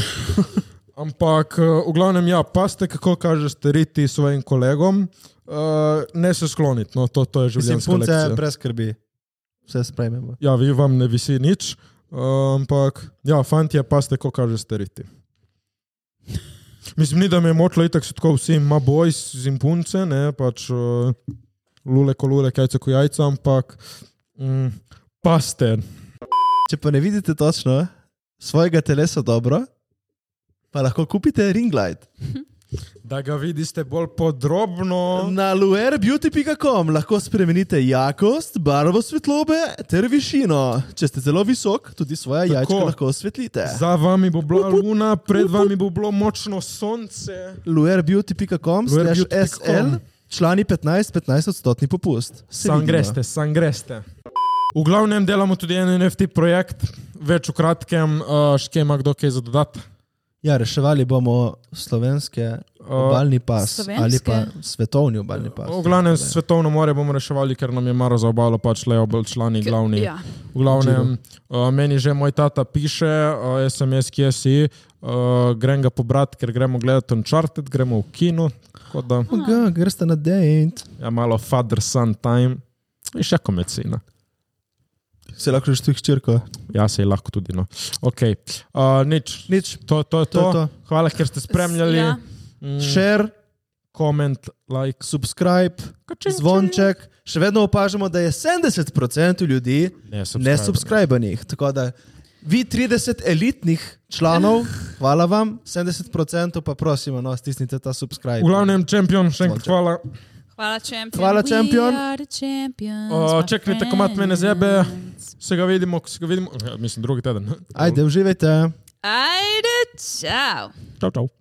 A: Ampak, eh, v glavnem, ja, paste, kako kažeš teriti svojim kolegom, uh, ne se skloniti, no, to, to je
C: Mislim,
A: življenjska
C: punce
A: lekcija.
C: brez skrbi. Vse sprejmemo.
A: Ja, vi vam ne visi nič, uh, ampak, ja, fanti, paste, kako kažeš teriti. Mislim, ni, da me je motilo, itak so tako vsi, ima boj z jim punce, ne, pač uh, lule, ko lule, kajce, ko jajca, ampak mm, paste.
C: Če pa ne vidite točno svojega telesa dobro, pa lahko kupite ring light.
A: Da ga vidiš bolj podrobno.
C: Na luerbeauty.com lahko spremenite jakost, barvo svetlobe ter višino. Če ste zelo visok, tudi svoje
A: Tako.
C: jajčka lahko osvetlite.
A: Za vami bo bila luna, pred vami bo bilo močno sonce.
C: luerbeauty.com slash
A: luerbeauty.com.
C: SL, člani 15, 15 odstotni popust. Se
A: Sam
C: vidimo.
A: greste, sam greste. V glavnem delamo tudi en NFT projekt, več v kratkem, uh, še ima kdo kaj za dodati.
C: Ja, reševali bomo slovenske obaljni pas
D: Slovenske?
C: ali pa svetovni obaljni pas.
A: V glavnem svetovno more bomo reševali, ker nam je maro za obalo, pač le obal člani glavni.
D: Ja.
A: V glavnem, uh, meni že moj tata piše, uh, SMS, kje si, uh, grem ga pobrati, ker gremo gledati Uncharted, gremo v kino, tako da
C: Ga, greste na dejt.
A: je ja, malo father-son time. In še komecina.
C: Se lahko že tu hčerko.
A: Ja, se je lahko tudi. No. Okay. Uh, nič.
C: Nič.
A: To, to, je to.
C: To je to.
A: Hvala, ker ste spremljali.
D: Ja.
A: Mm,
C: Share,
A: Koment, like.
C: subscribe, zvonček. Še vedno opažamo, da je 70% ljudi
A: Ne,
C: nesubscribenih. Tako da vi 30 elitnih članov, hvala vam, 70% pa prosimo, no, stisnite ta subscribe.
A: V glavnem, čempion, še enkrat
C: Zvonček.
A: hvala.
D: Hvala, čempion.
C: Hvala, čempion.
A: O, čekajte, komat mene zebe. Se ga vidimo, ko se ga vidimo. Ja, mislim, drugi teden.
C: Ajde, uživajte.
D: Ajde, čau.
A: Čau, čau.